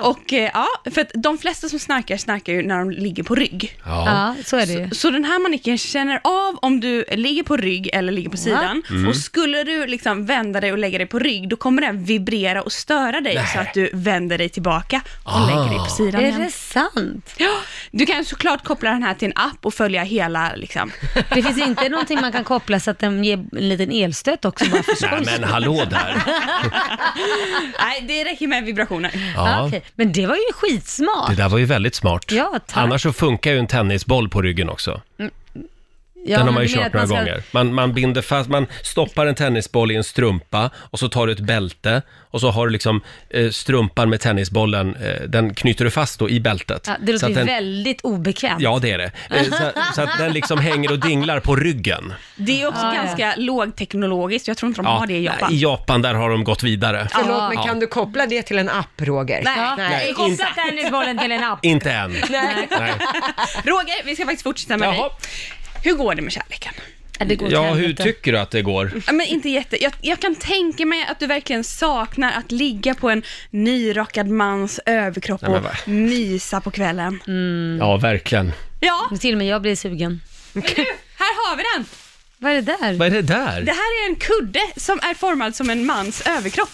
Speaker 11: Och eh, ja, för att de flesta som snarkar snarkar ju när de ligger på rygg.
Speaker 1: Ja.
Speaker 4: Ja, så är det ju.
Speaker 11: Så den här manicken känner av om du ligger på rygg eller ligger på sidan. Och skulle du liksom vända dig och lägga dig på rygg, då kommer den vibrera och störa dig så att du vänder dig tillbaka och
Speaker 1: Ah.
Speaker 11: lägger dig på sidan
Speaker 4: Är
Speaker 11: igen.
Speaker 4: det sant?
Speaker 11: Ja, du kan såklart koppla den här till en app och följa hela liksom.
Speaker 4: Det finns inte någonting man kan koppla så att den ger en liten elstöt också bara för
Speaker 1: Nej
Speaker 4: skojs
Speaker 1: men hallå där.
Speaker 11: Nej, det räcker med vibrationer.
Speaker 4: Ja,
Speaker 1: Ja.
Speaker 4: Ah, okej. Men det var ju
Speaker 1: Det
Speaker 4: skitsmart.
Speaker 1: där var ju väldigt smart.
Speaker 4: Ja, tack.
Speaker 1: Annars så funkar ju en tennisboll på ryggen också.
Speaker 4: Ja,
Speaker 1: Den har man
Speaker 4: men
Speaker 1: ju
Speaker 4: du menar
Speaker 1: kört
Speaker 4: att
Speaker 1: några
Speaker 4: man ska-
Speaker 1: gånger. Man, man binder fast, man stoppar en tennisboll i en strumpa och så tar du ett bälte och så har du liksom eh, strumpan med tennisbollen, eh, den knyter du fast då i bältet.
Speaker 4: Ja, det
Speaker 1: Så
Speaker 4: låter
Speaker 1: att
Speaker 4: ju
Speaker 1: den-
Speaker 4: väldigt obekvämt.
Speaker 1: Ja, det är det. Eh, Så, så att den liksom hänger och dinglar på ryggen.
Speaker 11: Det är också
Speaker 4: Ja, ja.
Speaker 11: ganska lågteknologiskt, jag tror inte de
Speaker 1: Ja,
Speaker 11: har det i Japan.
Speaker 1: I Japan, där har de gått vidare.
Speaker 2: Förlåt, men
Speaker 1: Ja.
Speaker 2: kan du koppla det till en app, Roger?
Speaker 4: Ja,
Speaker 2: Nej.
Speaker 4: Koppla tennisbollen till en app.
Speaker 1: Inte än.
Speaker 2: Nej.
Speaker 1: Nej.
Speaker 11: Roger, vi ska faktiskt fortsätta med
Speaker 1: Jaha.
Speaker 11: dig. Hur går det med kärleken?
Speaker 4: Ja, det går åt
Speaker 1: Ja, hur
Speaker 4: helvete.
Speaker 1: tycker du att det går?
Speaker 11: Ja, Men inte jätte. Jag, jag kan tänka mig att du verkligen saknar att ligga på en nyrakad mans överkropp
Speaker 1: Nej, men
Speaker 11: och
Speaker 1: va?
Speaker 11: mysa på kvällen.
Speaker 1: Ja, verkligen.
Speaker 11: Ja,
Speaker 4: Till och med jag blir sugen.
Speaker 11: här har vi den!
Speaker 4: Vad är det där?
Speaker 1: Vad är det där?
Speaker 11: Det här är en kudde som är formad som en mans överkropp.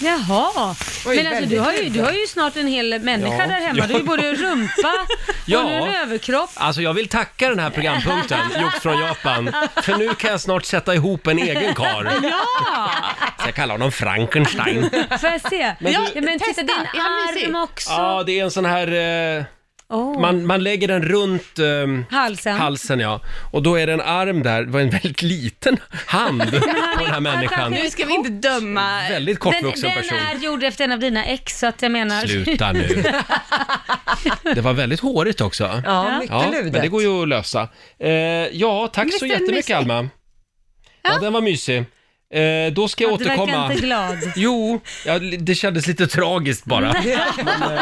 Speaker 4: Jaha, men alltså
Speaker 2: väldigt
Speaker 4: du har, ju, du har ju snart en hel människa
Speaker 1: Ja.
Speaker 4: där hemma. Du har ju både en rumpa
Speaker 1: Ja.
Speaker 4: och en överkropp.
Speaker 1: Alltså jag vill tacka den här programpunkten, gjort från Japan, för nu kan jag snart sätta ihop en egen karl.
Speaker 11: Ja!
Speaker 1: Så jag kallar honom Frankenstein.
Speaker 4: Får jag se? Men, ja, men titta, din
Speaker 11: Är han mysig?
Speaker 4: arm också.
Speaker 1: Ja, det är en sån här... Eh,
Speaker 4: Åh.
Speaker 1: man, man lägger den runt ehm,
Speaker 4: Halsen.
Speaker 1: halsen, ja. Och då är det en arm där, det var en väldigt liten hand på den här människan.
Speaker 11: Nu ska vi inte döma.
Speaker 1: Väldigt
Speaker 4: Den,
Speaker 1: kortvuxen
Speaker 4: den
Speaker 1: person.
Speaker 4: är gjord efter en av dina ex, så att jag menar...
Speaker 1: Sluta nu. Det var väldigt hårigt också.
Speaker 2: Ja,
Speaker 1: Ja,
Speaker 2: mycket
Speaker 1: men
Speaker 2: ludet.
Speaker 1: det går ju att lösa. Eh, ja, tack så
Speaker 11: Visst är den mysig?
Speaker 1: jättemycket Alma. Ja, den var mysig. Eh, då ska jag
Speaker 4: Du verkar
Speaker 1: återkomma.
Speaker 4: inte glad.
Speaker 1: Jo, ja, det kändes lite tragiskt bara. Men, eh,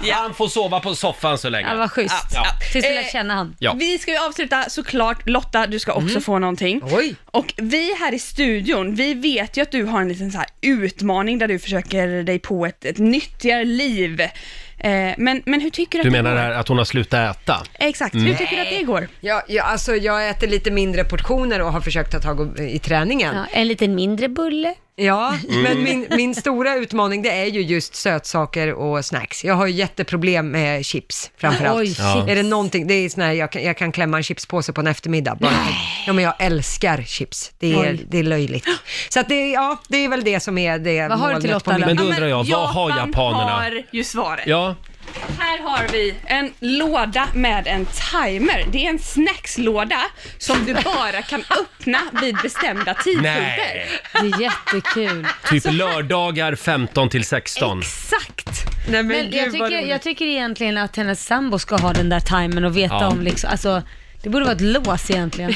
Speaker 1: ja. Han får sova på soffan så
Speaker 4: Ja,
Speaker 1: länge.
Speaker 4: vad schysst.
Speaker 1: Ja.
Speaker 4: Tills du
Speaker 11: Eh,
Speaker 4: lär känna han.
Speaker 1: Ja. Mm.
Speaker 11: Vi ska ju avsluta såklart. Lotta, du ska också få någonting.
Speaker 2: Oj!
Speaker 11: Och vi här i studion, vi vet ju att du har en liten så här utmaning där du försöker dig på ett, ett nyttigare liv. Eh, men, men hur tycker du,
Speaker 1: Du
Speaker 11: att
Speaker 1: menar
Speaker 11: det
Speaker 1: det Mm.
Speaker 11: går?
Speaker 1: här att hon har slutat äta?
Speaker 11: Exakt, hur tycker du att det går?
Speaker 2: Ja, ja, alltså jag äter lite mindre portioner och har försökt ta tag i träningen.
Speaker 4: Ja, en liten mindre bulle.
Speaker 2: Ja, men min, min stora utmaning det är ju just sötsaker och snacks. Jag har ju jätteproblem med chips framförallt.
Speaker 4: Oj, Ja. chips.
Speaker 2: Är det någonting, det är sån här, jag kan, jag kan klämma en chipspåse på en eftermiddag. Bara. Ja, men jag älskar chips. Det är,
Speaker 4: Oj.
Speaker 2: det är löjligt. Så att det, ja, det är väl det som är det
Speaker 4: Vad har du till
Speaker 2: målet på
Speaker 4: Lotta då?
Speaker 2: min-
Speaker 1: Men då undrar jag, vad har
Speaker 11: Japan
Speaker 1: japanerna?
Speaker 11: har ju svaret.
Speaker 1: Ja,
Speaker 11: Här har vi en låda med en timer. Det är en snackslåda som du bara kan öppna vid bestämda tidpunkter.
Speaker 1: nej.
Speaker 4: Det är jättekul.
Speaker 1: Typ lördagar 15 till 16.
Speaker 11: Exakt!
Speaker 2: Nej, men,
Speaker 4: Men
Speaker 2: gud
Speaker 4: jag
Speaker 2: vad
Speaker 4: tycker,
Speaker 2: roligt.
Speaker 4: jag tycker egentligen att hennes sambo ska ha den där timern och veta
Speaker 1: Ja.
Speaker 4: om liksom, alltså, det borde vara ett lås egentligen.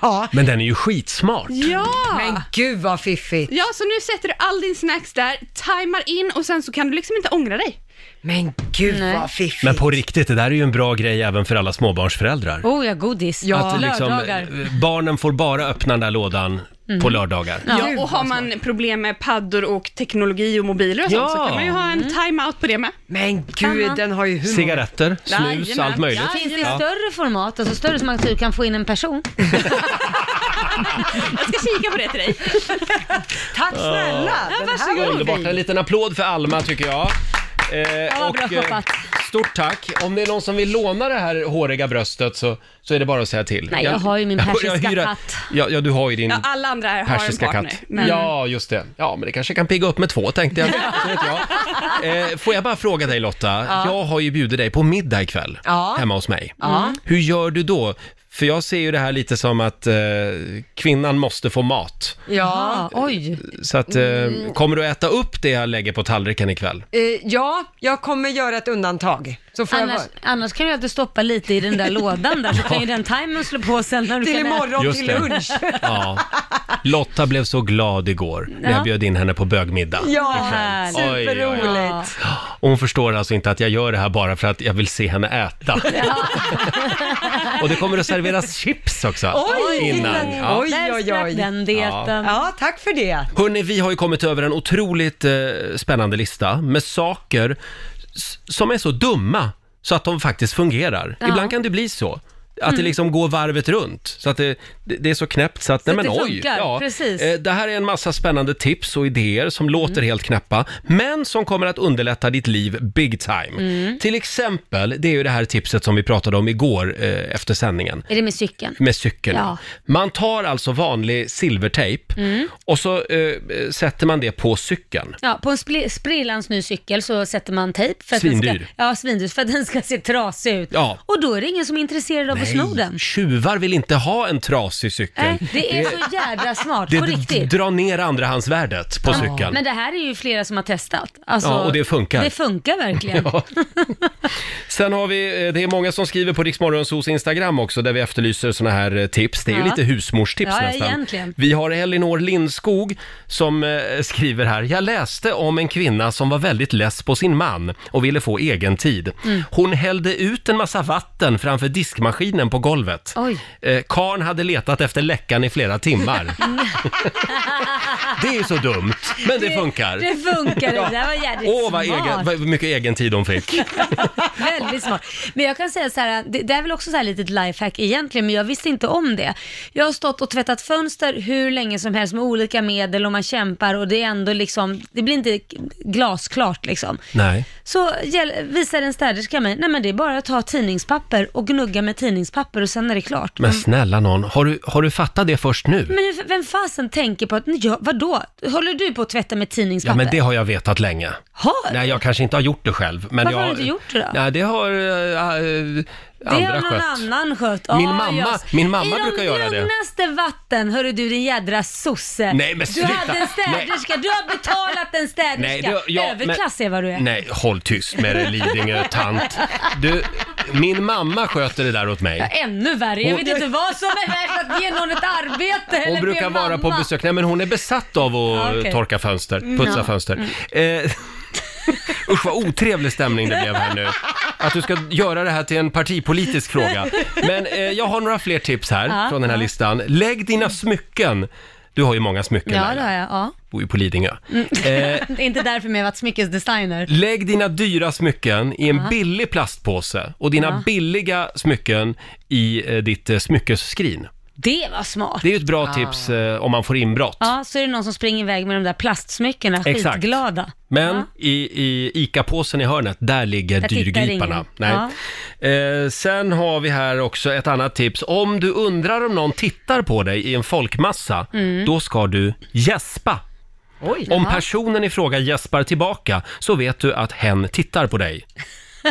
Speaker 2: Ja,
Speaker 1: Men den är ju skitsmart.
Speaker 11: Ja!
Speaker 2: men gud vad fiffigt.
Speaker 11: Ja, så nu sätter du all din snacks där, tajmar in och sen så kan du liksom inte ångra dig.
Speaker 2: Men gud
Speaker 4: Nej.
Speaker 2: vad fiffigt.
Speaker 1: Men på riktigt, det där är ju en bra grej även för alla småbarnsföräldrar.
Speaker 4: Oh ja, godis.
Speaker 2: Ja.
Speaker 1: att liksom,
Speaker 4: lördagar. Mhm.
Speaker 1: eh, barnen får bara öppna den där lådan på lördagar.
Speaker 11: Ja, och har man problem med paddor och teknologi och mobiler och
Speaker 1: Ja. Mm.
Speaker 11: sånt så kan man ju ha en timeout på det med.
Speaker 2: Men gud, den har ju humor.
Speaker 1: Cigaretter, snus,
Speaker 11: Jajamän.
Speaker 1: allt möjligt.
Speaker 11: Ja.
Speaker 4: Finns det större format, alltså större som man typ kan få in en person?
Speaker 11: Jag ska kika på det till dig.
Speaker 2: Tack snälla! Den här var
Speaker 1: Underbart, en liten applåd för Alma tycker jag. Eh,
Speaker 4: vad bra jobbat.
Speaker 1: stort tack. Om det är någon som vill låna det här håriga bröstet så, så är det bara att säga till.
Speaker 4: Nej, jag har ju min
Speaker 1: jag- jag
Speaker 4: persiska
Speaker 1: hyrar-
Speaker 4: katt.
Speaker 1: Ja, ja, du har ju din
Speaker 9: Ja, alla andra här har en
Speaker 1: persiska
Speaker 9: partner.
Speaker 1: katt.
Speaker 9: Men
Speaker 1: Mm. Ja, just det. Ja, men det kanske kan pigga upp med två tänkte jag. Så vet jag. Eh, får jag bara fråga dig Lotta, jag har ju bjudit dig på middag ikväll
Speaker 2: Ja.
Speaker 1: hemma hos mig. Hur gör du då? För jag ser ju det här lite som att eh, kvinnan måste få mat.
Speaker 2: Ja,
Speaker 4: Ah, oj.
Speaker 1: Så att, eh, kommer du äta upp det jag lägger på tallriken ikväll?
Speaker 2: eh, ja, jag kommer göra ett undantag. Så får
Speaker 4: Annars,
Speaker 2: jag vara-
Speaker 4: annars kan du alltid stoppa lite i den där lådan där, så kan ju den timern slå på sen när du
Speaker 2: till
Speaker 4: kan äta.
Speaker 2: imorgon,
Speaker 1: Just
Speaker 2: till
Speaker 1: det.
Speaker 2: lunch.
Speaker 1: Ja. Lotta blev så glad igår när jag
Speaker 4: Ja.
Speaker 1: bjöd in henne på bögmiddag.
Speaker 2: Ja,
Speaker 4: Härligt.
Speaker 1: Oj, oj, oj.
Speaker 4: Ja.
Speaker 2: superroligt.
Speaker 1: Och hon förstår alltså inte att jag gör det här bara för att jag vill se henne äta. Och det kommer att serveras chips också.
Speaker 2: Oj,
Speaker 1: innan.
Speaker 2: titta.
Speaker 1: Ja.
Speaker 2: Oj,
Speaker 4: Där
Speaker 2: oj,
Speaker 4: sprack
Speaker 2: oj.
Speaker 4: den dieten.
Speaker 2: Ja, tack för det.
Speaker 1: Hörni, vi har ju kommit över en otroligt eh, spännande lista med saker s- som är så dumma så att de faktiskt fungerar. Ibland kan det bli så. Att det
Speaker 4: Mm.
Speaker 1: liksom går varvet runt. Så att det, det, det är så knäppt så att, nej men
Speaker 4: att det
Speaker 1: oj.
Speaker 4: funkar, precis. Mm.
Speaker 1: Eh, Det här är en massa spännande tips och idéer som låter helt knäppa, men som kommer att underlätta ditt liv big time.
Speaker 4: Mm.
Speaker 1: Till exempel, det är ju det här tipset som vi pratade om igår eh, efter sändningen
Speaker 4: Är det med cykeln?
Speaker 1: med cykeln.
Speaker 4: Ja. Mm.
Speaker 1: Man tar alltså vanlig silvertejp och så eh, sätter man det på cykeln.
Speaker 4: Ja, på en spl- sprillans ny cykel så sätter man tejp för att den
Speaker 1: Svindyr.
Speaker 4: ska, ja, svindyr, för att den ska se trasig ut.
Speaker 1: Ja.
Speaker 4: Och då är det ingen som är intresserad av att sno den.
Speaker 1: tjuvar vill inte ha en trasig cykel.
Speaker 4: Nej, det är så jävla smart,
Speaker 1: Det
Speaker 4: på
Speaker 1: d-
Speaker 4: riktigt.
Speaker 1: drar ner andrahandsvärdet på cykeln.
Speaker 4: Men det här är ju flera som har testat. Alltså,
Speaker 1: Ja, och det funkar.
Speaker 4: Det funkar verkligen.
Speaker 1: Ja. Sen har vi, eh, det är många som skriver på Riksmorgonsos Instagram också där vi efterlyser såna här eh, tips. Det är ju
Speaker 4: Ja.
Speaker 1: lite husmorstips
Speaker 4: Ja, ja,
Speaker 1: nästan.
Speaker 4: egentligen.
Speaker 1: Vi har Elinor Lindskog som eh, skriver här. Jag läste om en kvinna som var väldigt less på sin man och ville få egen tid.
Speaker 4: Mm.
Speaker 1: Hon hällde ut en massa vatten framför diskmaskinen på golvet.
Speaker 4: Oj.
Speaker 1: Eh, Karn hade letat efter läckan i flera timmar. det är ju så dumt, men det, funkar.
Speaker 4: Det funkar, det där var jävligt
Speaker 1: Åh, vad,
Speaker 4: smart.
Speaker 1: egen, vad mycket egen tid hon fick.
Speaker 4: Väldigt smart. Men jag kan säga så här, det, det är väl också så här litet lifehack egentligen, men jag visste inte om det. Jag har stått och tvättat fönster hur länge som helst med olika medel och man kämpar och det är ändå liksom, det blir inte glasklart liksom.
Speaker 1: Nej.
Speaker 4: Så gäll- visar en städerska mig, nej men det är bara att ta tidningspapper och gnugga med tidningspapper och sen är det klart.
Speaker 1: Men snälla någon, har du, har du fattat det först nu?
Speaker 4: Men hur- vem fasen tänker på att, ja, vadå? Håller du på att tvätta med
Speaker 1: Ja,
Speaker 4: tidningspapper?
Speaker 1: men det har jag vetat länge.
Speaker 4: Har
Speaker 1: Nej, jag kanske inte har gjort det själv. Men
Speaker 4: Äh. Varför
Speaker 1: jag,
Speaker 4: har du inte gjort det då?
Speaker 1: Nej, det har eh, eh,
Speaker 4: Det
Speaker 1: andra
Speaker 4: har någon
Speaker 1: skött.
Speaker 4: annan skött.
Speaker 1: Min
Speaker 4: Ah,
Speaker 1: mamma-
Speaker 4: just.
Speaker 1: min mamma
Speaker 4: I
Speaker 1: brukar göra det.
Speaker 4: I de lugnaste vatten, hörru du din jädra sosse.
Speaker 1: Nej, men
Speaker 4: du
Speaker 1: sluta.
Speaker 4: hade en städerska, du har betalat en städerska.
Speaker 1: Nej, det- ja, men-
Speaker 4: Överklass är vad du är.
Speaker 1: Nej, håll tyst med dig Lidingö tant. Du, min mamma sköter det där åt mig.
Speaker 4: Ännu värre, jag
Speaker 1: Hon-
Speaker 4: vet inte vad som är värt att ge någon ett arbete eller
Speaker 1: Hon brukar
Speaker 4: min
Speaker 1: vara på
Speaker 4: mamma.
Speaker 1: besök. Nej, men hon är besatt av att
Speaker 4: Ja, okej. Mm.
Speaker 1: torka fönster, putsa fönster. Eh, usch, vad otrevlig stämning det blev här nu. Att du ska göra det här till en partipolitisk fråga. Men eh, jag har några fler tips här
Speaker 4: Ja,
Speaker 1: från den här
Speaker 4: ja.
Speaker 1: listan. Lägg dina smycken. Du har ju många smycken,
Speaker 4: Ja,
Speaker 1: Laila.
Speaker 4: det har jag. Mm. Ja.
Speaker 1: bor ju på Lidingö. Eh,
Speaker 4: Det är inte därför men jag har varit smyckesdesigner.
Speaker 1: lägg dina dyra smycken i en billig plastpåse och dina billiga smycken i eh, ditt eh, smyckesskrin.
Speaker 4: Det var smart.
Speaker 1: Det är ju ett bra tips eh, om man får inbrott.
Speaker 4: Ja, så är det någon som springer iväg med de där plastsmyckena,
Speaker 1: Exakt.
Speaker 4: skitglada.
Speaker 1: Men
Speaker 4: Ja.
Speaker 1: i, i ICA-påsen i hörnet, där ligger
Speaker 4: Där tittar
Speaker 1: dyrgriparna.
Speaker 4: ingen.
Speaker 1: Nej. Eh, sen har vi här också ett annat tips. Om du undrar om någon tittar på dig i en folkmassa,
Speaker 4: Mm.
Speaker 1: då ska du gäspa. Om personen i fråga gäspar tillbaka så vet du att hen tittar på dig.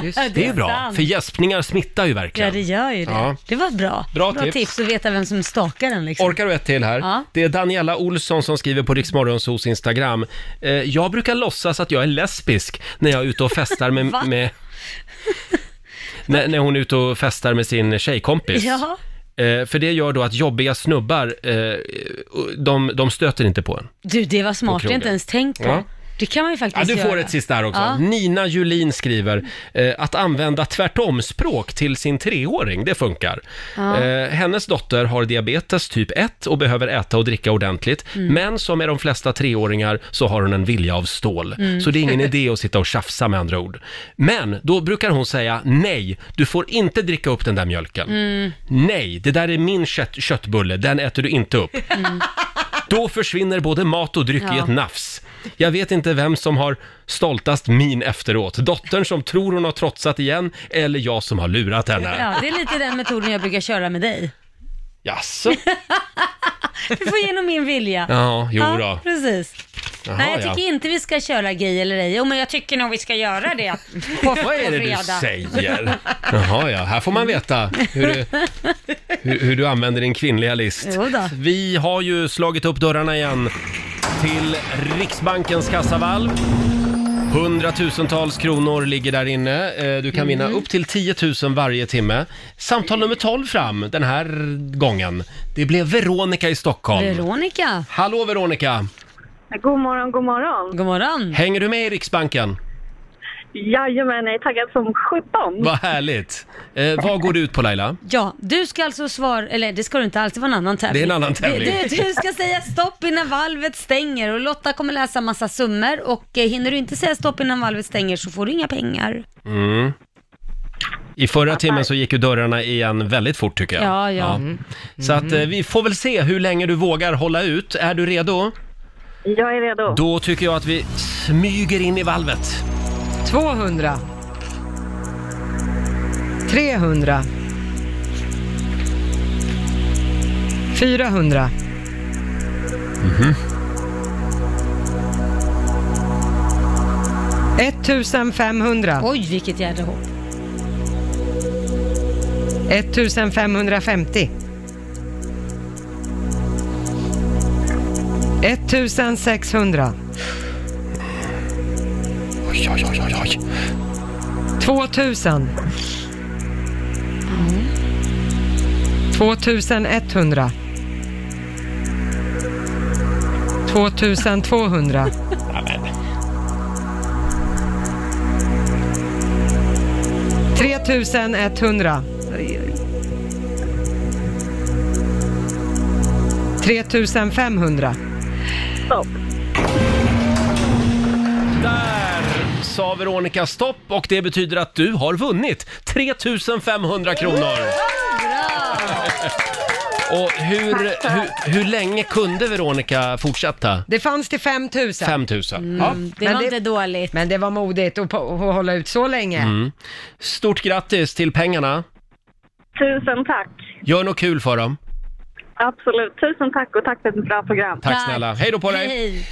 Speaker 1: det. är ju bra,
Speaker 4: sant.
Speaker 1: för gäspningar smittar ju
Speaker 4: Ja,
Speaker 1: verkligen.
Speaker 4: det gör ju det.
Speaker 1: Ja.
Speaker 4: Det var bra.
Speaker 1: Bra tips.
Speaker 4: tips att veta vem som stakar den liksom.
Speaker 1: Orkar du ett till här?
Speaker 4: Ja.
Speaker 1: Det är Daniela Olsson som skriver på Riksmorgonsos Instagram. Eh, jag brukar låtsas att jag är lesbisk när jag är ute och festar med...
Speaker 4: Va?
Speaker 1: med när, när hon är ute och festar med sin tjejkompis.
Speaker 4: Ja.
Speaker 1: Eh, för det gör då att jobbiga snubbar, eh, de, de stöter inte på en.
Speaker 4: Du, det var
Speaker 1: krogen.
Speaker 4: smart. Det har jag inte ens tänkt på.
Speaker 1: Ja.
Speaker 4: Det kan man ju
Speaker 1: Ja,
Speaker 4: faktiskt
Speaker 1: du
Speaker 4: göra.
Speaker 1: får ett sista här också.
Speaker 4: Ja.
Speaker 1: Nina Julin skriver eh, att använda tvärtomspråk till sin treåring, det funkar. Eh, hennes dotter har diabetes typ 1 och behöver äta och dricka ordentligt.
Speaker 4: Mm.
Speaker 1: Men som med de flesta treåringar så har hon en vilja av stål.
Speaker 4: Mm.
Speaker 1: Så det är ingen idé att sitta och tjafsa med andra ord. Men då brukar hon säga nej, du får inte dricka upp den där mjölken.
Speaker 4: Mm.
Speaker 1: Nej, det där är min kött- köttbulle, den äter du inte upp. Då försvinner både mat och dryck i
Speaker 4: Mm. Ja.
Speaker 1: ett nafs. Jag vet inte vem som har stoltast min efteråt. Dottern som tror hon har trotsat igen eller jag som har lurat henne.
Speaker 4: Ja, det är lite den metoden jag brukar köra med dig.
Speaker 1: Jaså?
Speaker 4: Du får igenom min vilja.
Speaker 1: Ja, jo
Speaker 4: Ja,
Speaker 1: då.
Speaker 4: precis.
Speaker 1: Jaha,
Speaker 4: Nej, jag
Speaker 1: ja.
Speaker 4: tycker inte vi ska köra gay eller ej. Jo, men jag tycker nog vi ska göra det på,
Speaker 1: Vad är
Speaker 4: på
Speaker 1: det du
Speaker 4: fredag.
Speaker 1: säger? Jaha, ja. Här får man veta hur du, hur, hur du använder din kvinnliga list.
Speaker 4: Jo då.
Speaker 1: Vi har ju slagit upp dörrarna igen till Riksbankens kassavalv. Hundratusentals kronor ligger där inne. Eh, Du kan vinna upp till 10 000 varje timme. Samtal nummer 12 fram den här gången. Det blev Veronica i Stockholm.
Speaker 4: Veronica,
Speaker 1: Hallå Veronica!
Speaker 8: God morgon, god morgon.
Speaker 4: god morgon.
Speaker 1: Hänger du med i Riksbanken?
Speaker 8: Jajamän, jag är taggad som sjutton.
Speaker 1: Vad härligt! Eh, vad går det ut på Laila?
Speaker 4: Ja, du ska alltså svara, eller det ska du inte alltid vara en annan tävling.
Speaker 1: Det är en annan tävling.
Speaker 4: Du, du, du ska säga stopp innan valvet stänger och Lotta kommer läsa massa summor och eh, hinner du inte säga stopp innan valvet stänger så får du inga pengar.
Speaker 1: I förra timmen så gick ju dörrarna igen väldigt fort tycker jag.
Speaker 4: Ja, Mm. Mm-hmm. ja.
Speaker 1: Så att eh, vi får väl se hur länge du vågar hålla ut. Är du redo?
Speaker 8: Jag är redo.
Speaker 1: Då tycker jag att vi smyger in i valvet.
Speaker 2: 200. 300. 400. 1500.
Speaker 4: Oj, vilket jädra hopp.
Speaker 2: 1550. 1600. 2000. 2100. 2200. Tre tusen etthundra. Tre tusen femhundra.
Speaker 8: Stopp.
Speaker 1: Där sa Veronica stopp och det betyder att du har vunnit 3500 kronor. Och hur, hur, hur länge kunde Veronica fortsätta?
Speaker 2: Det fanns till 5000.
Speaker 1: 5000.
Speaker 4: Mm.
Speaker 1: Ja.
Speaker 4: Det
Speaker 2: Men
Speaker 4: var
Speaker 2: det-
Speaker 4: inte dåligt.
Speaker 2: Men det var modigt att, på- att hålla ut så länge.
Speaker 1: Mm. Stort grattis till pengarna.
Speaker 8: Tusen tack.
Speaker 1: Gör något kul för dem.
Speaker 8: Absolut. Tusen tack och tack för ett bra program.
Speaker 1: Tack,
Speaker 4: Tack.
Speaker 1: snälla. Hej då på dig.
Speaker 4: Hej.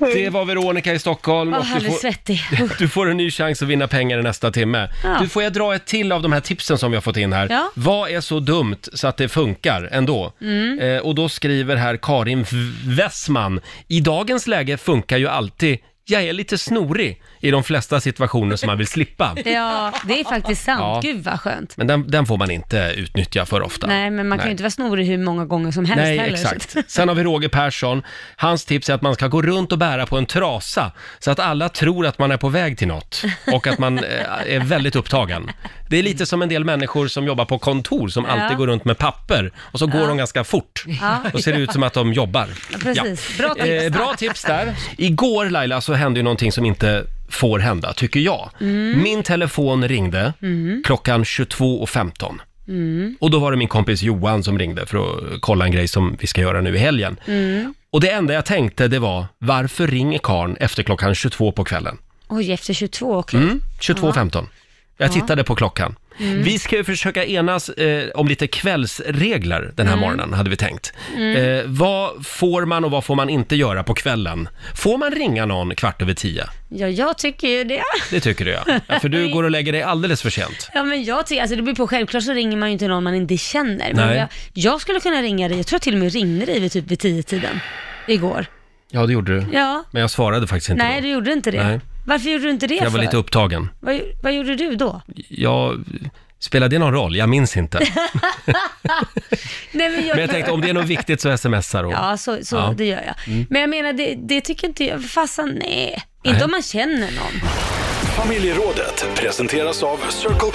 Speaker 1: Det var Veronica i Stockholm.
Speaker 4: Åh,
Speaker 1: och
Speaker 4: han
Speaker 1: du
Speaker 4: är
Speaker 1: får-
Speaker 4: svettig.
Speaker 1: Du får en ny chans att vinna pengar i nästa timme.
Speaker 4: Ja.
Speaker 1: Du, får jag dra ett till av de här tipsen som vi har fått in här?
Speaker 4: Ja.
Speaker 1: Vad är så dumt så att det funkar ändå?
Speaker 4: Mm.
Speaker 1: Eh, och då skriver här Karin V- Wessman. I dagens läge funkar ju alltid jag är lite snorig i de flesta situationer som man vill slippa.
Speaker 4: Ja, det är faktiskt sant.
Speaker 1: Ja.
Speaker 4: Gud vad skönt.
Speaker 1: Men den, den får man inte utnyttja för ofta.
Speaker 4: Nej, men man kan ju inte vara snorig hur många gånger som helst
Speaker 1: Nej,
Speaker 4: heller.
Speaker 1: exakt. Sen har vi Roger Persson. Hans tips är att man ska gå runt och bära på en trasa så att alla tror att man är på väg till något och att man eh, är väldigt upptagen. Det är lite som en del människor som jobbar på kontor som alltid går runt med papper och så går de ganska fort
Speaker 4: Ja.
Speaker 1: och ser det ut som att de jobbar.
Speaker 4: Precis. Bra tips.
Speaker 1: Eh, bra tips där. Igår Laila så hände ju någonting som inte får hända, tycker jag.
Speaker 4: Mm.
Speaker 1: Min telefon ringde klockan 22.15.
Speaker 4: Mm.
Speaker 1: Och då var det min kompis Johan som ringde för att kolla en grej som vi ska göra nu i helgen.
Speaker 4: Mm.
Speaker 1: Och det enda jag tänkte det var, varför ringer karn efter klockan 22 på kvällen?
Speaker 4: Oj, efter 22, okej.
Speaker 1: Mm, 22.15. Jag tittade på klockan.
Speaker 4: Mm.
Speaker 1: Vi ska ju försöka enas eh, om lite kvällsregler den här
Speaker 4: Mm.
Speaker 1: morgonen, hade vi tänkt. Eh, vad får man och vad får man inte göra på kvällen? Får man ringa någon kvart över tio?
Speaker 4: Ja, jag tycker ju det.
Speaker 1: Det tycker du ja. ja för du går och lägger dig alldeles för sent.
Speaker 4: Ja, men jag tycker, alltså det beror på, självklart så ringer man ju inte någon man inte känner. Men
Speaker 1: Nej.
Speaker 4: jag, jag skulle kunna ringa dig, jag tror till och med jag ringde dig vid typ vid 10-tiden igår.
Speaker 1: Ja, det gjorde du.
Speaker 4: Ja,
Speaker 1: Men jag svarade faktiskt inte då.
Speaker 4: nej du gjorde inte det.
Speaker 1: Nej.
Speaker 4: Varför gjorde du inte det
Speaker 1: Jag var
Speaker 4: för?
Speaker 1: lite upptagen.
Speaker 4: vad, gjo- vad gjorde du då?
Speaker 1: Jag... Spelar det någon roll? Jag minns inte.
Speaker 4: Nej, men jag,
Speaker 1: Men jag tänkte om det är något viktigt så smsar hon.
Speaker 4: Ja, så, så
Speaker 1: Ja. Mm.
Speaker 4: det gör jag. Men jag menar, det, det tycker inte jag, fasen nej.
Speaker 1: Nej.
Speaker 4: Inte om man känner någon.
Speaker 3: Familjerådet presenteras av Circle K.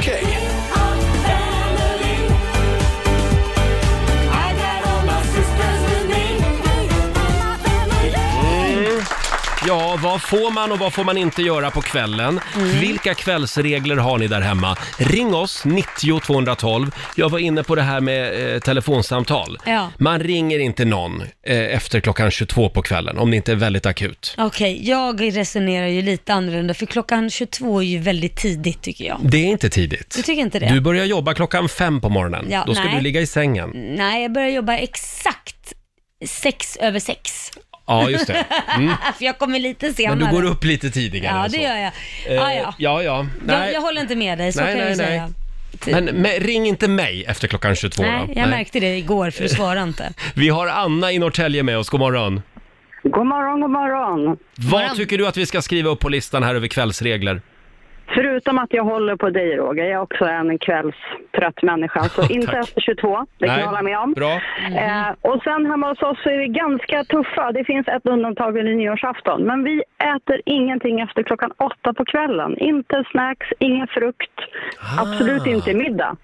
Speaker 1: Ja, vad får man och vad får man inte göra på kvällen?
Speaker 4: Mm.
Speaker 1: Vilka kvällsregler har ni där hemma? Ring oss, 90 212. Jag var inne på det här med eh, telefonsamtal.
Speaker 4: Ja.
Speaker 1: Man ringer inte någon eh, efter klockan 22 på kvällen om det inte är väldigt akut.
Speaker 4: Okej, jag resonerar ju lite annorlunda för klockan 22 är ju väldigt tidigt tycker jag.
Speaker 1: Det är inte tidigt.
Speaker 4: Du tycker inte det?
Speaker 1: Du börjar jobba klockan fem på morgonen.
Speaker 4: Ja,
Speaker 1: Då ska
Speaker 4: nej. Mm.
Speaker 1: du ligga i sängen.
Speaker 4: Nej, jag börjar jobba exakt sex över sex. Ah,
Speaker 1: Ja, just det.
Speaker 4: för jag kommer lite senare.
Speaker 1: Men du går upp lite tidigare.
Speaker 4: Ja,
Speaker 1: än så.
Speaker 4: det gör jag. Ah,
Speaker 1: Eh,
Speaker 4: ja, ja.
Speaker 1: ja, ja.
Speaker 4: Jag,
Speaker 1: Nej.
Speaker 4: jag håller inte med dig, så
Speaker 1: Nej,
Speaker 4: kan jag ju
Speaker 1: nej, nej.
Speaker 4: säga.
Speaker 1: Men, men ring inte mig efter klockan 22
Speaker 4: Nej,
Speaker 1: då.
Speaker 4: jag märkte det igår för du svarade inte.
Speaker 1: Vi har Anna i Norrtälje med oss, god morgon.
Speaker 8: God morgon, god morgon.
Speaker 1: Vad tycker du att vi ska skriva upp på listan här över kvällsregler?
Speaker 8: Förutom att jag håller på dig Roger, jag är också en kvällstrött människa. Så inte
Speaker 1: Tack.
Speaker 8: efter 22, det kan
Speaker 1: Nej.
Speaker 8: jag hålla med om.
Speaker 1: Bra.
Speaker 8: Eh, och sen hemma hos oss så är vi ganska tuffa. Det finns ett undantag vid nyårsafton. Men vi äter ingenting efter klockan åtta på kvällen. Inte snacks, ingen frukt,
Speaker 1: Ah.
Speaker 8: absolut inte middag.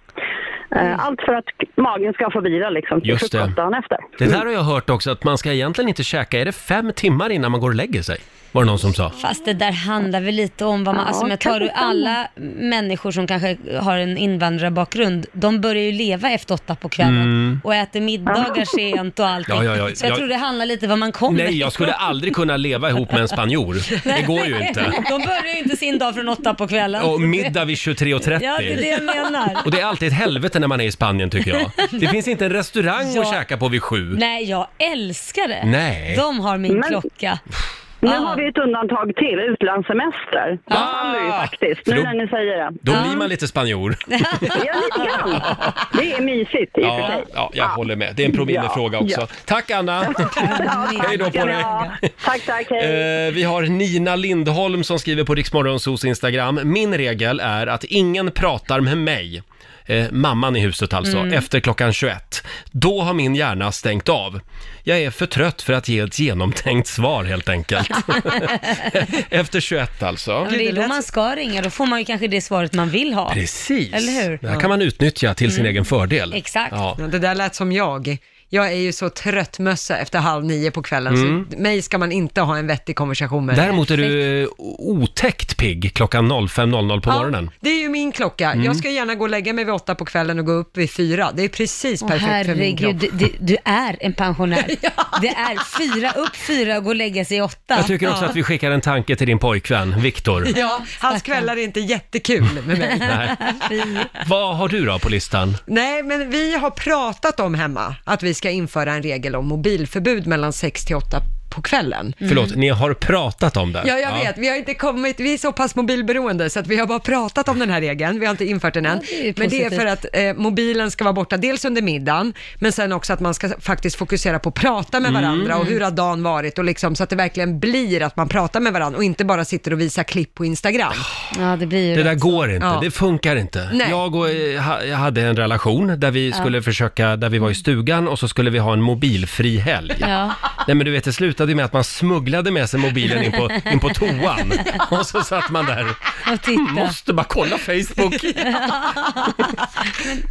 Speaker 8: Eh, allt för att magen ska få vila liksom till
Speaker 1: Mm. Just det.
Speaker 8: frukost dagen efter.
Speaker 1: Det där har jag hört också, att man ska egentligen inte käka, är det fem timmar innan man går och lägger sig? Var det någon som sa.
Speaker 4: Fast det där handlar väl lite om vad man, alltså om jag tar ur alla människor som kanske har en invandrarbakgrund, de börjar ju leva efter åtta på kvällen och äter middagar sent och allting.
Speaker 1: Mm. Ja, ja, ja.
Speaker 4: Så jag
Speaker 1: Jag-
Speaker 4: tror det handlar lite vad man kommer
Speaker 1: Nej, jag skulle aldrig kunna leva ihop med en spanjor. Det går ju inte.
Speaker 4: De börjar ju inte sin dag från åtta på kvällen.
Speaker 1: Och middag vid
Speaker 4: Ja, det är det
Speaker 1: 23.30.
Speaker 4: jag menar.
Speaker 1: Och det är alltid ett helvete när man är i Spanien tycker jag. Det finns inte en restaurang
Speaker 4: Ja.
Speaker 1: att käka på vid sju.
Speaker 4: Nej, jag älskar det.
Speaker 1: Nej.
Speaker 4: De har min
Speaker 8: Men-
Speaker 4: klocka.
Speaker 8: Nu
Speaker 4: Ah.
Speaker 8: har vi ett undantag till, utlandssemester. Det faller ju faktiskt,
Speaker 1: Ah. För
Speaker 8: nu
Speaker 1: då-
Speaker 8: när ni säger det.
Speaker 1: Då blir man lite spanjor.
Speaker 8: Ja, lite grann. Det är mysigt i och för
Speaker 1: Ja,
Speaker 8: sig.
Speaker 1: ja, jag håller med. Det är en promillefråga
Speaker 8: Ja,
Speaker 1: också. Tack Anna! Hej då på dig!
Speaker 8: Ja, tack, tack, hej.
Speaker 1: Eh, vi har Nina Lindholm som skriver på Riksmorgonsos Instagram. Min regel är att ingen pratar med mig, eh, mamman i huset alltså,
Speaker 4: Mm.
Speaker 1: efter klockan 21. Då har min hjärna stängt av. Jag är för trött för att ge ett genomtänkt svar helt enkelt. efter 21 alltså.
Speaker 4: Men det är då man ska ringa, då får man ju kanske det svaret man vill ha.
Speaker 1: Precis!
Speaker 4: Eller hur? Mm.
Speaker 1: Det här kan man utnyttja till sin egen fördel.
Speaker 4: Exakt.
Speaker 1: Ja.
Speaker 2: Ja, det där lät som jag. Jag är ju så tröttmössa efter halv nio på kvällen, så mig ska man inte ha en vettig konversation med.
Speaker 1: Mm. Däremot är du eh, otäckt pigg klockan 05.00 på morgonen. Mm.
Speaker 2: Det är ju min klocka. Jag ska gärna gå och lägga mig vid åtta på kvällen och gå upp vid fyra. Det är precis
Speaker 4: Åh,
Speaker 2: perfekt för min kropp.
Speaker 4: herregud, du, du, du är en pensionär. Det är fyra upp, fyra och gå och lägga sig i åtta.
Speaker 1: Jag tycker också att vi skickar en tanke till din pojkvän, Viktor.
Speaker 2: Ja, hans kvällar är inte jättekul med mig.
Speaker 1: Nej. Vad har du då på listan?
Speaker 2: Nej, men vi har pratat om hemma att vi ska införa en regel om mobilförbud mellan 6 till 8 på kvällen.
Speaker 1: Förlåt, ni har pratat om det.
Speaker 2: Mm. Ja, jag vet. Vi har inte kommit, vi är så pass mobilberoende så att vi har bara pratat om den här regeln. Vi har inte infört den än.
Speaker 4: Ja, det är ju
Speaker 2: men det är
Speaker 4: positivt.
Speaker 2: för att eh, mobilen ska vara borta dels under middagen, men sen också att man ska faktiskt fokusera på att prata
Speaker 1: Mm.
Speaker 2: med varandra och hur har dagen varit och liksom så att det verkligen blir att man pratar med varandra och inte bara sitter och visar klipp på Instagram.
Speaker 1: Ah,
Speaker 4: Ja, det blir ju
Speaker 1: Det
Speaker 4: det.
Speaker 1: där går inte,
Speaker 2: Ja.
Speaker 1: det funkar inte.
Speaker 2: Nej.
Speaker 1: Jag, och, eh, ha, jag hade en relation där vi skulle försöka, där vi var i stugan och så skulle vi ha en mobilfri helg.
Speaker 4: Ja.
Speaker 1: Nej men du vet, det slutade ju med att man smugglade med sig mobilen in på, in på toan och så satt man där.
Speaker 4: Och titta.
Speaker 1: Måste bara kolla Facebook.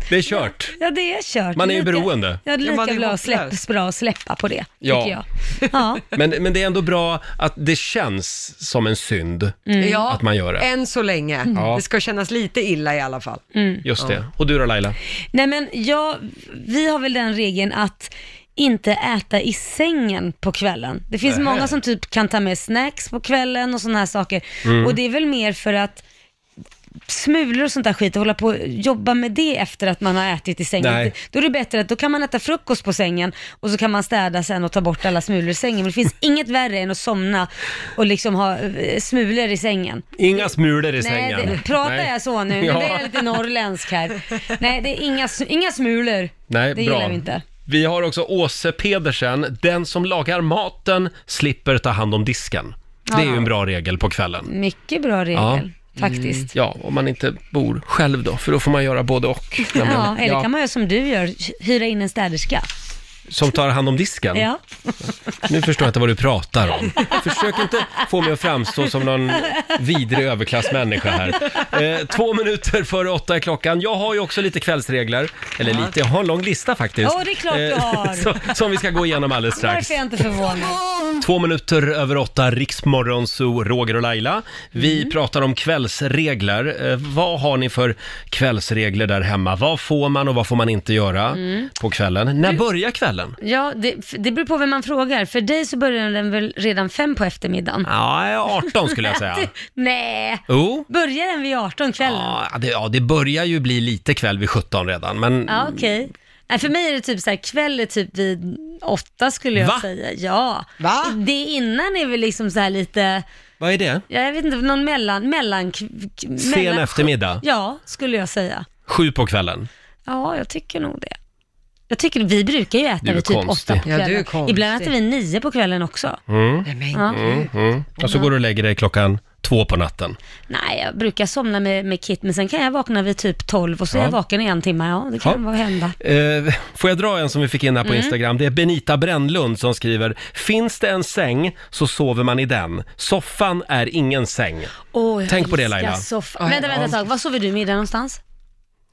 Speaker 1: Det är kört.
Speaker 4: Ja, det är kört.
Speaker 1: Man är ju
Speaker 4: Lika-
Speaker 1: beroende.
Speaker 4: Ja, det är
Speaker 2: Ja, man
Speaker 4: lika
Speaker 2: är
Speaker 4: bra, att
Speaker 2: hopplös.
Speaker 4: släpp, bra att släppa på det,
Speaker 1: Ja.
Speaker 4: tycker jag. Ja.
Speaker 1: Men, men det är ändå bra att det känns som en synd.
Speaker 2: Ja,
Speaker 1: mm. Att man gör det. Mm.
Speaker 2: än så länge.
Speaker 1: Ja. Mm.
Speaker 2: Det ska kännas lite illa i alla fall.
Speaker 1: Just det. Och du då Laila?
Speaker 4: Nej, men jag, vi har väl den regeln att inte äta i sängen på kvällen. Det finns
Speaker 1: Nähä.
Speaker 4: många som typ kan ta med snacks på kvällen och sådana här saker.
Speaker 1: Mm.
Speaker 4: Och det är väl mer för att smulor och sånt där skit och hålla på och jobba med det efter att man har ätit i sängen.
Speaker 1: Nej.
Speaker 4: Då är det bättre att då kan man äta frukost på sängen och så kan man städa sen och ta bort alla smulor i sängen. Men det finns inget värre än att somna och liksom ha eh, smulor i sängen.
Speaker 1: Inga smulor i
Speaker 4: Nej,
Speaker 1: sängen.
Speaker 4: det, pratar
Speaker 1: Nej.
Speaker 4: jag så nu? Nu
Speaker 1: Ja.
Speaker 4: blir jag lite norrländsk här. Nej, det är inga, inga smulor.
Speaker 1: Nej,
Speaker 4: det
Speaker 1: bra.
Speaker 4: gillar vi inte.
Speaker 1: Vi har också Åse Pedersen. Den som lagar maten slipper ta hand om disken. Det är ju en bra regel på
Speaker 4: Mm.
Speaker 1: kvällen.
Speaker 4: Mycket bra regel, faktiskt.
Speaker 1: Ja, om man inte bor själv då, för då får man göra både och.
Speaker 4: Ja, eller
Speaker 1: Mm. Ja.
Speaker 4: kan man göra som du gör, hyra in en städerska.
Speaker 1: Som tar hand om disken?
Speaker 4: Ja.
Speaker 1: Nu förstår jag inte vad du pratar om. Försök inte få mig att framstå som någon vidrig överklassmänniska här. Eh, två minuter före åtta är klockan. Jag har ju också lite kvällsregler. Eller lite, jag har en lång lista faktiskt.
Speaker 4: Ja, det är klart du har.
Speaker 1: som, som vi ska gå igenom alldeles strax.
Speaker 4: Därför är jag inte förvånad.
Speaker 1: Två minuter över åtta, Riksmorgon, Zoo, Roger och Laila. Vi
Speaker 4: Mm.
Speaker 1: pratar om kvällsregler. Eh, vad har ni för kvällsregler där hemma? Vad får man och vad får man inte göra
Speaker 4: Mm.
Speaker 1: på kvällen? När börjar kvällen?
Speaker 4: Ja, det, f- det beror på vem man frågar. För dig så börjar den väl redan fem på eftermiddagen?
Speaker 1: Ja, 18 skulle jag säga. Oh.
Speaker 4: Nej,
Speaker 1: Jo.
Speaker 4: börjar den vid 18 kvällen?
Speaker 1: Ja, det, ja, det börjar ju bli lite kväll vid 17 redan, men
Speaker 4: Ja, okej. Nej, för mig är det typ så här, kväll är typ vid åtta skulle jag
Speaker 1: Va?
Speaker 4: säga. Ja.
Speaker 2: Va?
Speaker 4: Det innan är väl liksom så här lite,
Speaker 1: vad är det?
Speaker 4: ja, jag vet inte, någon mellan, mellan... k- k-
Speaker 1: Sen
Speaker 4: mellan
Speaker 1: eftermiddag,
Speaker 4: Ja, skulle jag säga.
Speaker 1: sju på kvällen.
Speaker 4: Ja, jag tycker nog det. Jag tycker, vi brukar ju
Speaker 1: Du
Speaker 4: äta
Speaker 1: är
Speaker 4: vid typ
Speaker 1: konstig.
Speaker 4: åtta på
Speaker 2: Ja, du är
Speaker 4: kvällen.
Speaker 2: konstig.
Speaker 4: Ibland äter vi nio på kvällen också.
Speaker 2: Nej, men
Speaker 4: Ja.
Speaker 1: Mm. Och så går du och lägger dig klockan två på natten.
Speaker 4: Nej, jag brukar somna med, med Kit, men sen kan jag vakna vid typ 12 och så är
Speaker 1: Ja.
Speaker 4: jag vaken i en timme. Ja, det kan
Speaker 1: Ja.
Speaker 4: ja. hända.
Speaker 1: Eh, får jag dra en som vi fick in här på
Speaker 4: Mm.
Speaker 1: Instagram? Det är Benita Brännlund som skriver “Finns det en säng så sover man i den. Soffan är ingen säng.”
Speaker 4: Åh, jag
Speaker 1: Tänk på det,
Speaker 4: älskar
Speaker 1: Laila.
Speaker 4: Soffa. vänta, vänta ett tag. Var sover du middag någonstans?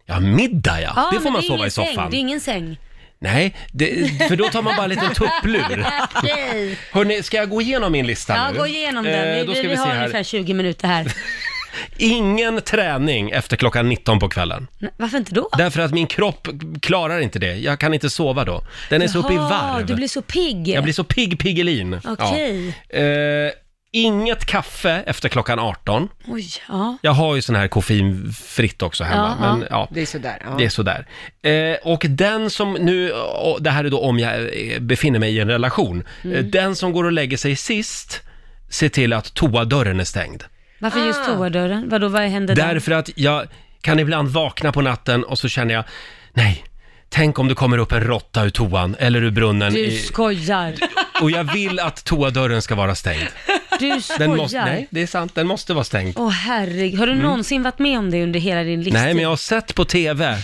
Speaker 1: Ja, middag ja! det får
Speaker 4: men
Speaker 1: man
Speaker 4: är
Speaker 1: sova
Speaker 4: ingen
Speaker 1: i
Speaker 4: Säng.
Speaker 1: soffan.
Speaker 4: Det är ingen säng.
Speaker 1: Nej, det, för då tar man bara en liten tupplur.
Speaker 4: Okej.
Speaker 1: Hörni, ska jag gå igenom min lista
Speaker 4: Ja,
Speaker 1: nu?
Speaker 4: gå igenom den.
Speaker 1: Eh,
Speaker 4: vi,
Speaker 1: då
Speaker 4: vi,
Speaker 1: ska
Speaker 4: vi,
Speaker 1: vi, se
Speaker 4: har
Speaker 1: här.
Speaker 4: ungefär 20 minuter här.
Speaker 1: Ingen träning efter klockan 19 på kvällen.
Speaker 4: Nej, Varför inte då?
Speaker 1: Därför att min kropp klarar inte det. Jag kan inte sova då. Den är så uppe i
Speaker 4: Jaha,
Speaker 1: varv.
Speaker 4: Du blir så pigg.
Speaker 1: Jag blir så pigg piggelin.
Speaker 4: Okej.
Speaker 1: Ja. Eh, inget kaffe efter klockan 18.
Speaker 4: Oj, ja.
Speaker 1: Jag har ju sån här koffeinfritt också hemma.
Speaker 4: Ja, ja.
Speaker 1: men, ja.
Speaker 2: det är sådär. Ja.
Speaker 1: Det är sådär. Eh, och den som nu, och det här är då om jag eh, befinner mig i en relation.
Speaker 4: Mm.
Speaker 1: Eh, Den som går och lägger sig sist, se till att toadörren är stängd.
Speaker 4: Varför just toadörren? Vadå, vad händer där?
Speaker 1: Därför att jag kan ibland vakna på natten och så känner jag, nej, tänk om det kommer upp en råtta ur toan eller ur brunnen.
Speaker 4: Du
Speaker 1: i,
Speaker 4: skojar.
Speaker 1: och jag vill att toadörren ska vara stängd.
Speaker 4: Du
Speaker 1: Den måste, nej,
Speaker 4: skojar.
Speaker 1: det är sant, den måste vara stängd.
Speaker 4: Åh herregud, har du någonsin varit med om det under hela din livstid?
Speaker 1: Nej, men jag har sett på TV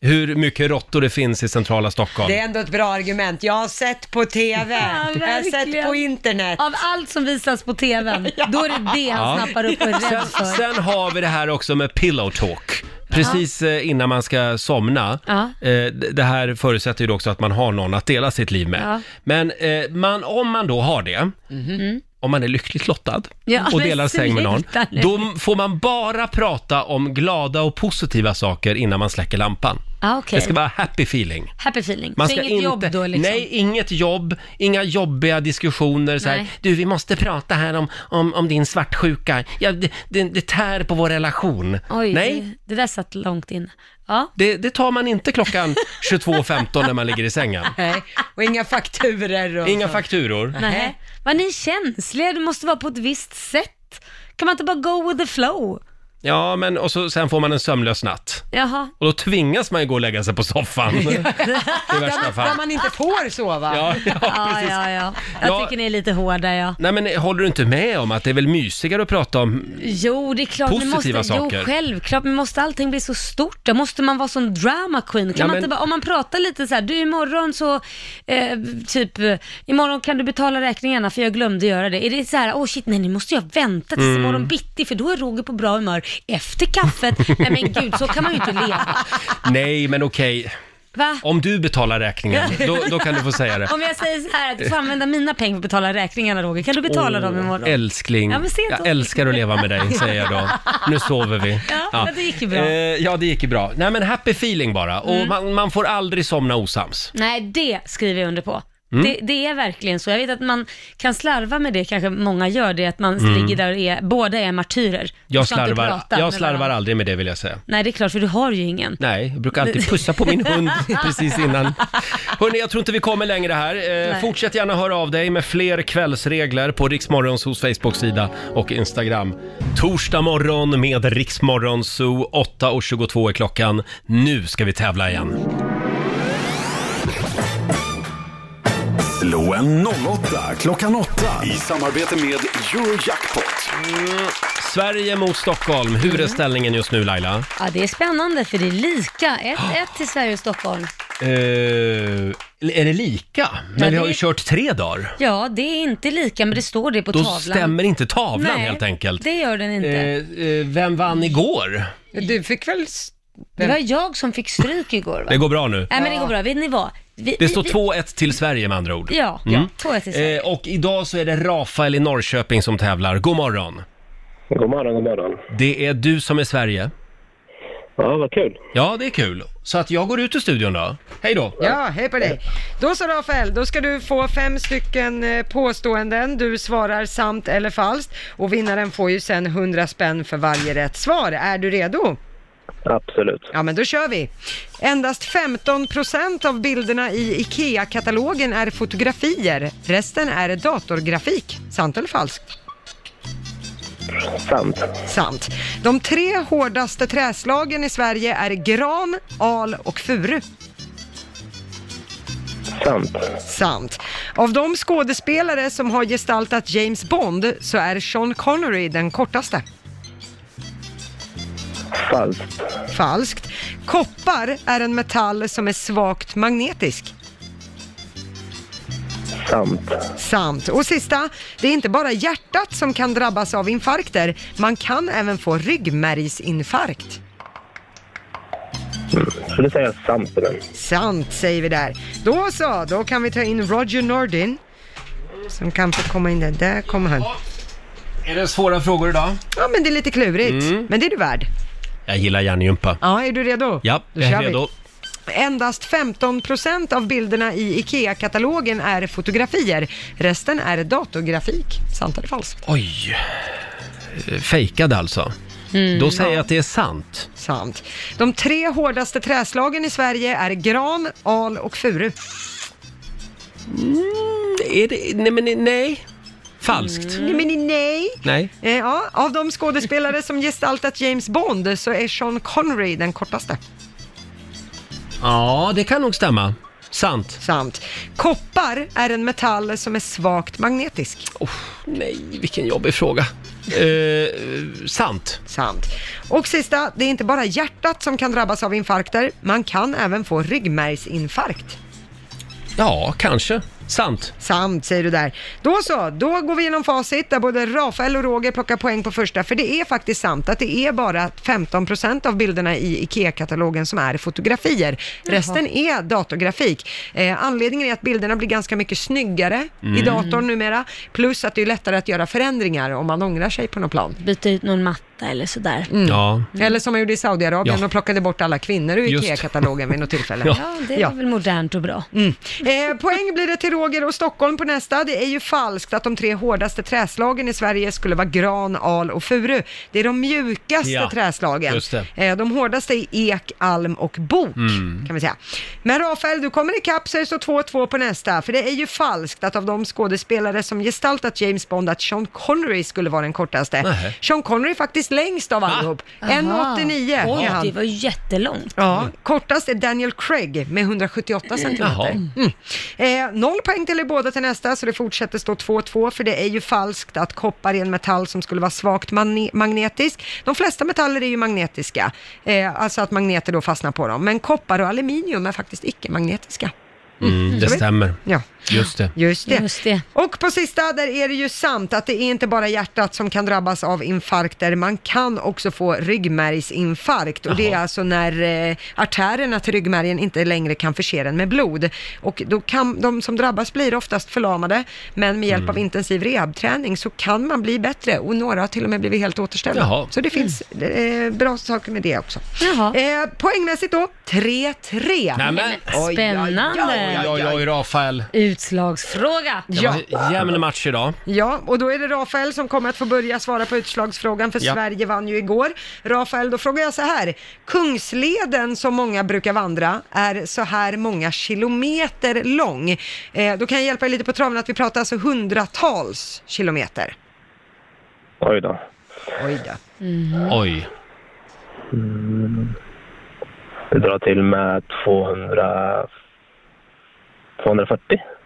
Speaker 1: hur mycket råttor det finns i centrala Stockholm.
Speaker 2: Det är ändå ett bra argument. Jag har sett på TV, jag har sett
Speaker 4: verkligen.
Speaker 2: på internet.
Speaker 4: Av allt som visas på tvn, då är det det han
Speaker 1: Ja.
Speaker 4: snappar upp och är rädd
Speaker 1: Sen,
Speaker 4: för.
Speaker 1: sen har vi det här också med pillow talk. Precis eh, innan man ska somna.
Speaker 4: Ja.
Speaker 1: Eh, d- Det här förutsätter ju då också att man har någon att dela sitt liv med.
Speaker 4: Ja. Mhm.
Speaker 1: Men eh, man, om man då har det, om man är lyckligt lottad
Speaker 4: Ja,
Speaker 1: och
Speaker 4: men
Speaker 1: delar säng med någon,
Speaker 4: sluta nu.
Speaker 1: då m- får man bara prata om glada och positiva saker innan man släcker lampan.
Speaker 4: Ah, okej.
Speaker 1: Det ska vara happy feeling.
Speaker 4: Happy feeling.
Speaker 1: Man
Speaker 4: så
Speaker 1: ska
Speaker 4: inget
Speaker 1: inte,
Speaker 4: jobb då liksom?
Speaker 1: Nej, inget jobb, inga jobbiga diskussioner så här,
Speaker 4: Nej.
Speaker 1: du vi måste prata här om, om, om din svartsjuka, ja, det, det, det tär på vår relation.
Speaker 4: Oj,
Speaker 1: Nej,
Speaker 4: Det, det där satt långt in. Ja.
Speaker 1: det, det tar man inte klockan 22.15 när man ligger i sängen.
Speaker 2: Nej. Och inga fakturer och
Speaker 1: Inga
Speaker 2: så.
Speaker 1: fakturor.
Speaker 4: Nej. Vad ni är känsliga, du måste vara på ett visst sätt. Kan man inte bara go with the flow?
Speaker 1: Ja, men och så, sen får man en sömnlös natt.
Speaker 4: Jaha.
Speaker 1: Och då tvingas man ju gå och lägga sig på soffan. I värsta
Speaker 2: Där
Speaker 1: fall.
Speaker 2: man inte får sova.
Speaker 1: Ja, ja,
Speaker 4: Ja,
Speaker 1: precis.
Speaker 4: ja, ja. Jag
Speaker 1: Ja.
Speaker 4: tycker ni är lite hårda, ja.
Speaker 1: Nej men håller du inte med om att det är väl mysigare att prata om...
Speaker 4: Jo, det är klart. men
Speaker 1: Positiva
Speaker 4: måste,
Speaker 1: saker.
Speaker 4: Jo, självklart. Men måste allting bli så stort? Då måste man vara som drama queen? Kan
Speaker 1: Ja,
Speaker 4: man
Speaker 1: men-
Speaker 4: inte bara, om man pratar lite så här, du imorgon så, eh, typ, eh, imorgon kan du betala räkningarna för jag glömde göra det. Är det så här, åh oh shit, nej nu måste jag vänta tills
Speaker 1: Mm.
Speaker 4: imorgon bitti för då är Roger på bra humör efter kaffet. nej men gud, så kan man ju inte leva.
Speaker 1: Nej men okej,
Speaker 4: Va?
Speaker 1: om du betalar räkningen, då, då kan du få säga det.
Speaker 4: Om jag säger så här att du får använda mina pengar för att betala räkningarna Roger, kan du betala dem imorgon?
Speaker 1: Älskling,
Speaker 4: Ja, men se då.
Speaker 1: jag älskar att leva med dig, säger jag då. Nu sover vi.
Speaker 4: Ja, men det gick ju bra. Mm.
Speaker 1: Eh, ja, det gick ju bra. Nej, men happy feeling bara. Och man, man får aldrig somna osams.
Speaker 4: Nej, det skriver jag under på.
Speaker 1: Mm.
Speaker 4: Det, det är verkligen så. Jag vet att man kan slarva med det, kanske många gör det, att man ligger där och är, båda är martyrer. Du
Speaker 1: Mm. Jag
Speaker 4: ska inte
Speaker 1: slarvar,
Speaker 4: prata
Speaker 1: jag
Speaker 4: med
Speaker 1: slarvar
Speaker 4: varandra.
Speaker 1: aldrig med det, vill jag säga.
Speaker 4: Nej, det är klart, för du har ju ingen.
Speaker 1: Nej, jag brukar alltid pussa på min hund precis innan. Hörni, jag tror inte vi kommer längre här. Eh,
Speaker 4: Nej.
Speaker 1: fortsätt gärna höra av dig med fler kvällsregler på Riksmorgons hos Facebook-sida och Instagram. Torsdag morgon med Riksmorgon Zoo. 8.22 är klockan. Nu ska vi tävla igen.
Speaker 3: Slå en 08 klockan 8 i samarbete med Eurojackpot.
Speaker 1: Sverige mot Stockholm. Hur är ställningen just nu Laila? Ah.
Speaker 4: Ja, det är spännande, för det är lika. 1-1 till Sverige och Stockholm.
Speaker 1: Eh, är det lika? Men
Speaker 4: Ja,
Speaker 1: vi har
Speaker 4: det-
Speaker 1: ju kört tre dagar.
Speaker 4: Ja, det är inte lika, men det står det på
Speaker 1: Då
Speaker 4: tavlan.
Speaker 1: stämmer inte tavlan
Speaker 4: Nej,
Speaker 1: helt enkelt.
Speaker 4: det gör den inte.
Speaker 1: Eh, eh, vem vann igår?
Speaker 2: Du fick väl... s-
Speaker 4: Det var jag som fick stryk igår va?
Speaker 1: Det går bra nu.
Speaker 4: Nej men det går bra, vet ni vad? Vi,
Speaker 1: Det står
Speaker 4: vi-
Speaker 1: 2-1 till Sverige med andra ord.
Speaker 4: Eh, Ja,
Speaker 1: Mm.
Speaker 4: ja, två ett i Sverige.
Speaker 1: Eh, och idag så är det Rafael i Norrköping som tävlar. God morgon!
Speaker 6: God morgon, god morgon.
Speaker 1: Det är du som är Sverige.
Speaker 6: Ja, vad kul.
Speaker 1: Ja, det är kul. Så att jag går ut ur studion då. Hej då!
Speaker 2: Ja, hej på dig. Då så Rafael, då ska du få fem stycken eh, påståenden. Du svarar sant eller falskt och vinnaren får ju sen 100 spänn för varje rätt svar. Är du redo?
Speaker 6: Absolut.
Speaker 2: Ja, men då kör vi. Endast 15% av bilderna i IKEA-katalogen är fotografier. Resten är datorgrafik. Sant eller falskt?
Speaker 6: Sant.
Speaker 2: Sant. De tre hårdaste träslagen i Sverige är gran, al och furu.
Speaker 6: Sant.
Speaker 2: Sant. Av de skådespelare som har gestaltat James Bond så är Sean Connery den kortaste.
Speaker 6: Falskt.
Speaker 2: Falskt. Koppar är en metall som är svagt magnetisk.
Speaker 6: Sant.
Speaker 2: Sant. Och sista, det är inte bara hjärtat som kan drabbas av infarkter. Man kan även få ryggmärgsinfarkt.
Speaker 6: Så det säger jag sant på den.
Speaker 2: Sant säger vi där. Då så, då kan vi ta in Roger Nordin. Som kan få komma in där. Där kommer han.
Speaker 1: Är det svåra frågor idag?
Speaker 2: Ja men det är lite klurigt.
Speaker 1: Mm.
Speaker 2: Men det är du värd.
Speaker 1: Jag gillar järngympa.
Speaker 2: Ja, är du redo?
Speaker 1: Ja,
Speaker 2: Då
Speaker 1: jag
Speaker 2: kör
Speaker 1: är
Speaker 2: vi.
Speaker 1: redo.
Speaker 2: Endast 15% av bilderna i IKEA-katalogen är fotografier. Resten är datorgrafik. Sant eller falskt?
Speaker 1: Oj! Eh, Fejkade alltså. Då säger jag att det är sant.
Speaker 2: Sant. De tre hårdaste träslagen i Sverige är gran, al och furu.
Speaker 1: Är det... Nej, men nej. Mm. Falskt.
Speaker 2: Nej, men nej!
Speaker 1: Nej.
Speaker 2: Eh, ja, av de skådespelare som gestaltat James Bond så är Sean Connery den kortaste.
Speaker 1: Ja, det kan nog stämma. Sant.
Speaker 2: Sant. Koppar är en metall som är svagt magnetisk.
Speaker 1: Nej, vilken jobbig fråga. Eh, sant.
Speaker 2: Sant. Och sista, det är inte bara hjärtat som kan drabbas av infarkter. Man kan även få ryggmärgsinfarkt.
Speaker 1: Ja, kanske. Sant.
Speaker 2: Sant säger du där. Då så, då går vi igenom facit där både Rafael och Roger plockar poäng på första. För det är faktiskt sant att det är bara 15% av bilderna i IKEA-katalogen som är fotografier. Resten är datorgrafik. Eh, anledningen är att bilderna blir ganska mycket snyggare i datorn numera. Plus att det är lättare att göra förändringar om man ångrar sig på något plan.
Speaker 4: Byta ut någon matta eller sådär.
Speaker 1: Ja.
Speaker 2: Eller som man gjorde i Saudiarabien
Speaker 1: Ja.
Speaker 2: och plockade bort alla kvinnor ur
Speaker 1: Just.
Speaker 2: IKEA-katalogen vid något tillfälle.
Speaker 4: Ja, det
Speaker 2: Ja.
Speaker 4: var väl modernt och bra.
Speaker 2: Eh, poäng blir det till Roger och Stockholm på nästa. Det är ju falskt att de tre hårdaste träslagen i Sverige skulle vara gran, al och furu. Det är de mjukaste
Speaker 1: Ja,
Speaker 2: träslagen.
Speaker 1: just det. Mm.
Speaker 2: Eh, de hårdaste är ek, alm och bok, kan vi säga. Men Rafael, du kommer ikapp så det står 2-2 på nästa. För det är ju falskt att av de skådespelare som gestaltat James Bond att Sean Connery skulle vara den kortaste.
Speaker 1: Nähä.
Speaker 2: Sean Connery är faktiskt längst av allihop.
Speaker 4: Aha.
Speaker 2: 1,89 är
Speaker 4: Oj, det
Speaker 2: han.
Speaker 4: var ju jättelångt.
Speaker 2: Ja, kortast är Daniel Craig med 178
Speaker 1: Jaha.
Speaker 2: centimeter. Mm. Eh, noll poäng till er båda till nästa, så det fortsätter stå 2-2, för det är ju falskt att koppar är en metall som skulle vara svagt mani- magnetisk. De flesta metaller är ju magnetiska, eh, alltså att magneter då fastnar på dem, men koppar och aluminium är faktiskt icke-magnetiska.
Speaker 1: Mm, det stämmer.
Speaker 2: Ja.
Speaker 1: Just det.
Speaker 2: Just det.
Speaker 4: Just det.
Speaker 2: Och på sista, där är det ju sant att det är inte bara hjärtat som kan drabbas av infarkter, man kan också få ryggmärgsinfarkt och det är alltså när eh, artärerna till ryggmärgen inte längre kan förse den med blod. Och då kan, de som drabbas blir oftast förlamade, men med hjälp
Speaker 1: Mm.
Speaker 2: av intensiv rehabträning så kan man bli bättre och några har till och med blivit helt återställda.
Speaker 1: Jaha.
Speaker 2: Så det finns eh, bra saker med det också.
Speaker 4: Mm. Jaha.
Speaker 2: Eh, poängmässigt då, 3-3.
Speaker 1: Nämen!
Speaker 2: Oj,
Speaker 4: Spännande.
Speaker 1: Oj, oj, oj, Rafael.
Speaker 4: Utslagsfråga.
Speaker 1: Det var jämn match idag.
Speaker 2: Ja, och då är det Rafael som kommer att få börja svara på utslagsfrågan, för
Speaker 1: Ja.
Speaker 2: Sverige vann ju igår. Rafael, då frågar jag så här. Kungsleden som många brukar vandra är så här många kilometer lång. Eh, då kan jag hjälpa er lite på traven att vi pratar alltså hundratals kilometer.
Speaker 6: Oj då.
Speaker 2: Oj då.
Speaker 1: Oj.
Speaker 6: Vi drar till med 200... 240.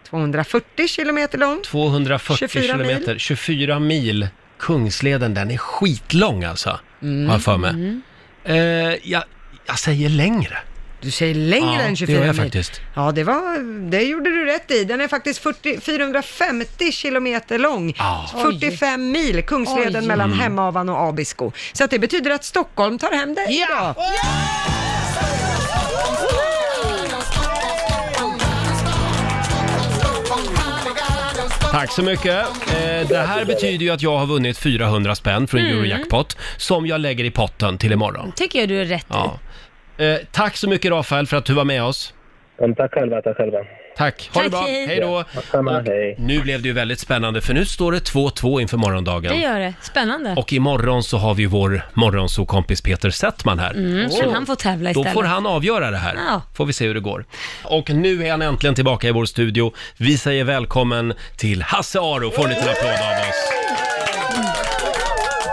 Speaker 2: 240 kilometer lång.
Speaker 1: 240
Speaker 2: 24 mil.
Speaker 1: kilometer, 24 mil. Kungsleden, den är skitlång alltså. Har jag för mig. Eh, jag, jag säger längre.
Speaker 2: Du säger längre
Speaker 1: Ja,
Speaker 2: än 24
Speaker 1: det gör jag
Speaker 2: mil.
Speaker 1: faktiskt.
Speaker 2: Ja, det, var, det gjorde du rätt i. Den är faktiskt 40, 450 kilometer lång.
Speaker 1: Ja.
Speaker 2: 45 mil, Kungsleden
Speaker 1: Oj.
Speaker 2: mellan
Speaker 1: Mm.
Speaker 2: Hemavan och Abisko. Så att det betyder att Stockholm tar hem dig ja. idag.
Speaker 1: Tack så mycket. Eh, det här betyder ju att jag har vunnit 400 spänn från
Speaker 4: Mm.
Speaker 1: Eurojackpot som jag lägger i potten till imorgon.
Speaker 4: tycker jag du är rätt
Speaker 1: Ja. Eh, tack så mycket Rafael för att du var med oss.
Speaker 6: Tack själva, tack själva.
Speaker 1: Tack, ha det
Speaker 6: Tack,
Speaker 1: bra.
Speaker 6: hej.
Speaker 1: Hej då. Och Nu blev det ju väldigt spännande för nu står det 2-2 inför morgondagen.
Speaker 13: Det gör det. Spännande.
Speaker 1: Och imorgon så har vi vår morgonsokompis Peter Settman här.
Speaker 4: Mm, kan
Speaker 1: Så
Speaker 4: han få tävla
Speaker 1: Då
Speaker 4: istället?
Speaker 1: får han avgöra det här.
Speaker 4: Ja.
Speaker 1: Får vi se hur det går. Och nu är han äntligen tillbaka i vår studio. Vi säger välkommen till Hasse Aro. Får en liten applåd av oss.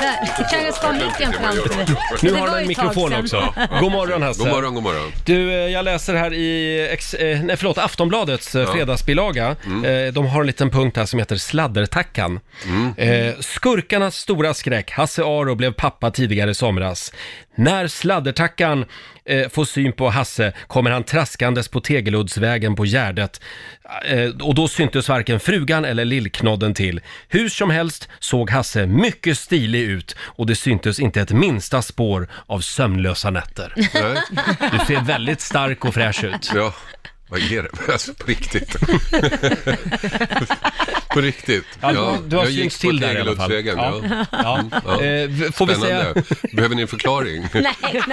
Speaker 4: Där, kan jag ska micken fram till
Speaker 1: Nu
Speaker 4: Det
Speaker 1: har
Speaker 4: var
Speaker 1: han
Speaker 4: ju
Speaker 1: en
Speaker 4: ett tag
Speaker 1: mikrofon
Speaker 4: sedan.
Speaker 1: också. God morgon Hasse.
Speaker 11: God morgon, god morgon.
Speaker 1: Du, eh, jag läser här i ex, eh, nej, förlåt, Aftonbladets eh,
Speaker 11: Ja.
Speaker 1: fredagsbilaga. Eh, De har en liten punkt här som heter Sladdertackan. Eh, Skurkarnas stora skräck. Hasse Aro blev pappa tidigare i somras. När Sladdertackan eh, får syn på Hasse kommer han traskandes på Tegeluddsvägen på Gärdet. Eh, och då syntes varken frugan eller lillknodden till. Hur som helst såg Hasse mycket stilig ut och det syntes inte ett minsta spår av sömnlösa nätter. Du ser väldigt stark och fräsch ut.
Speaker 11: Ja, vad är det? Alltså, på riktigt. på riktigt.
Speaker 1: Ja, du- du har
Speaker 11: jag
Speaker 1: synts
Speaker 11: gick på
Speaker 1: till där i alla fall. Ja.
Speaker 11: Tegeluddsvägen, Ja.
Speaker 1: Ja.
Speaker 11: Mm,
Speaker 1: Eh, får vi
Speaker 11: Spännande. Behöver ni en förklaring?
Speaker 13: Nej,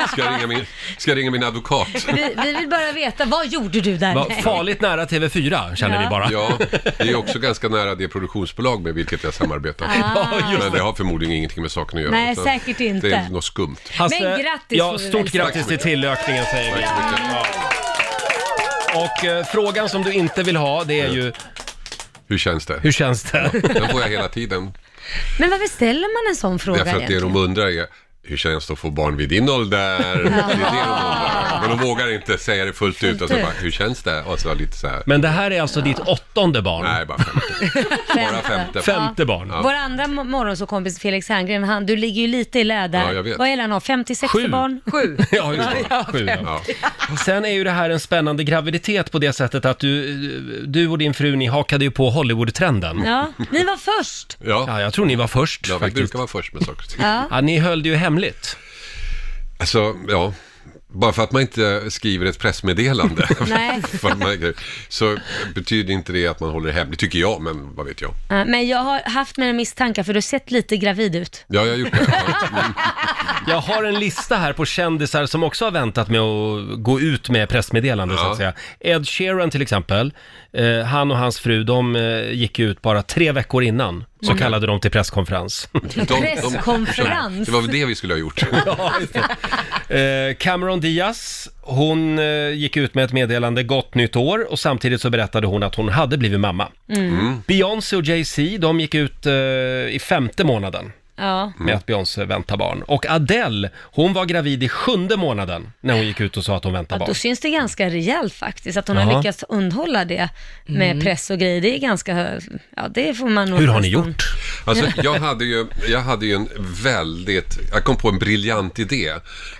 Speaker 11: Ska jag ringa min, ska jag ringa min advokat?
Speaker 13: Vi, vi vill bara veta, vad gjorde du där?
Speaker 1: Vad farligt nära TV4 känner
Speaker 13: Ja.
Speaker 1: vi bara.
Speaker 11: Ja, det är också ganska nära det produktionsbolag med vilket jag samarbetar.
Speaker 13: Ah.
Speaker 11: Men det har förmodligen ingenting med saken att göra.
Speaker 13: Nej,
Speaker 11: utan
Speaker 13: säkert inte.
Speaker 11: Det är något skumt.
Speaker 1: Hasse,
Speaker 13: Men grattis får
Speaker 1: Ja,
Speaker 13: vi väl
Speaker 1: stort
Speaker 13: säga.
Speaker 1: grattis till tillökningen säger vi. Ja. Och eh, frågan som du inte vill ha, det är ju...
Speaker 11: Hur känns det?
Speaker 1: Hur känns det?
Speaker 11: Den får jag hela tiden.
Speaker 13: Men varför ställer man en sån fråga
Speaker 11: Därför att det
Speaker 13: egentligen?
Speaker 11: de undrar är, hur känns det att få barn vid din ålder? Det är det de undrar. Men de vågar inte säga det fullt ut. Och så bara, hur känns det? Och så lite så här.
Speaker 1: Men det här är alltså ditt åttonde barn?
Speaker 11: Nej, bara femte. Bara femte.
Speaker 1: Femte barn.
Speaker 11: Ja.
Speaker 13: Ah. Vår andra mo- morgonsåkompis Felix Herngren, han, du ligger ju lite i lä där.
Speaker 1: Ja, jag vet.
Speaker 13: Vad är det han har? 50-60
Speaker 1: Sju.
Speaker 13: barn?
Speaker 2: Sju.
Speaker 1: Ja, just det. Sju, ja. Sen är ju det här en spännande graviditet på det sättet att du, du och din fru, ni hakade ju på Hollywood-trenden.
Speaker 13: Ja, ni var först.
Speaker 11: Ja.
Speaker 1: jag tror ni var först
Speaker 11: Ja, vi
Speaker 1: faktiskt.
Speaker 11: brukar vara först med saker och ting.
Speaker 13: Ja.
Speaker 1: Ja, ni höll det ju hemligt.
Speaker 11: Alltså, ja. Bara för att man inte skriver ett pressmeddelande
Speaker 13: Nej.
Speaker 11: för att man- så betyder inte det att man håller det hemligt, tycker jag, men vad vet jag.
Speaker 13: Ja, Ah, Men jag har haft mina misstankar för du har sett lite gravid ut.
Speaker 11: Ja, jag har gjort det.
Speaker 1: Jag har en lista här på kändisar som också har väntat med att gå ut med pressmeddelanden så att säga. Ed Sheeran till exempel, eh, han och hans fru, de eh, gick ju ut bara tre veckor innan, så
Speaker 13: Mm.
Speaker 1: kallade de till presskonferens.
Speaker 13: Presskonferens.
Speaker 11: Det var väl det vi skulle ha gjort.
Speaker 1: Eh, Cameron Diaz, hon eh, gick ut med ett meddelande, gott nytt år, och samtidigt så berättade hon att hon hade blivit mamma.
Speaker 13: Mm. Mm.
Speaker 1: Beyoncé och Jay-Z, de gick ut eh, i femte månaden
Speaker 13: Ja.
Speaker 11: Mm.
Speaker 1: med att Beyoncé väntar barn. Och Adele, hon var gravid i sjunde månaden när hon gick ut och sa att hon väntar
Speaker 13: Ja,
Speaker 1: barn.
Speaker 13: då syns det ganska rejält faktiskt, att hon
Speaker 1: Ja.
Speaker 13: har lyckats undhålla det med
Speaker 11: Mm.
Speaker 13: press och grejer. Det är ganska, ja det får man nog nästan-
Speaker 11: Alltså, jag, hade ju, jag hade ju en väldigt, jag kom på en briljant idé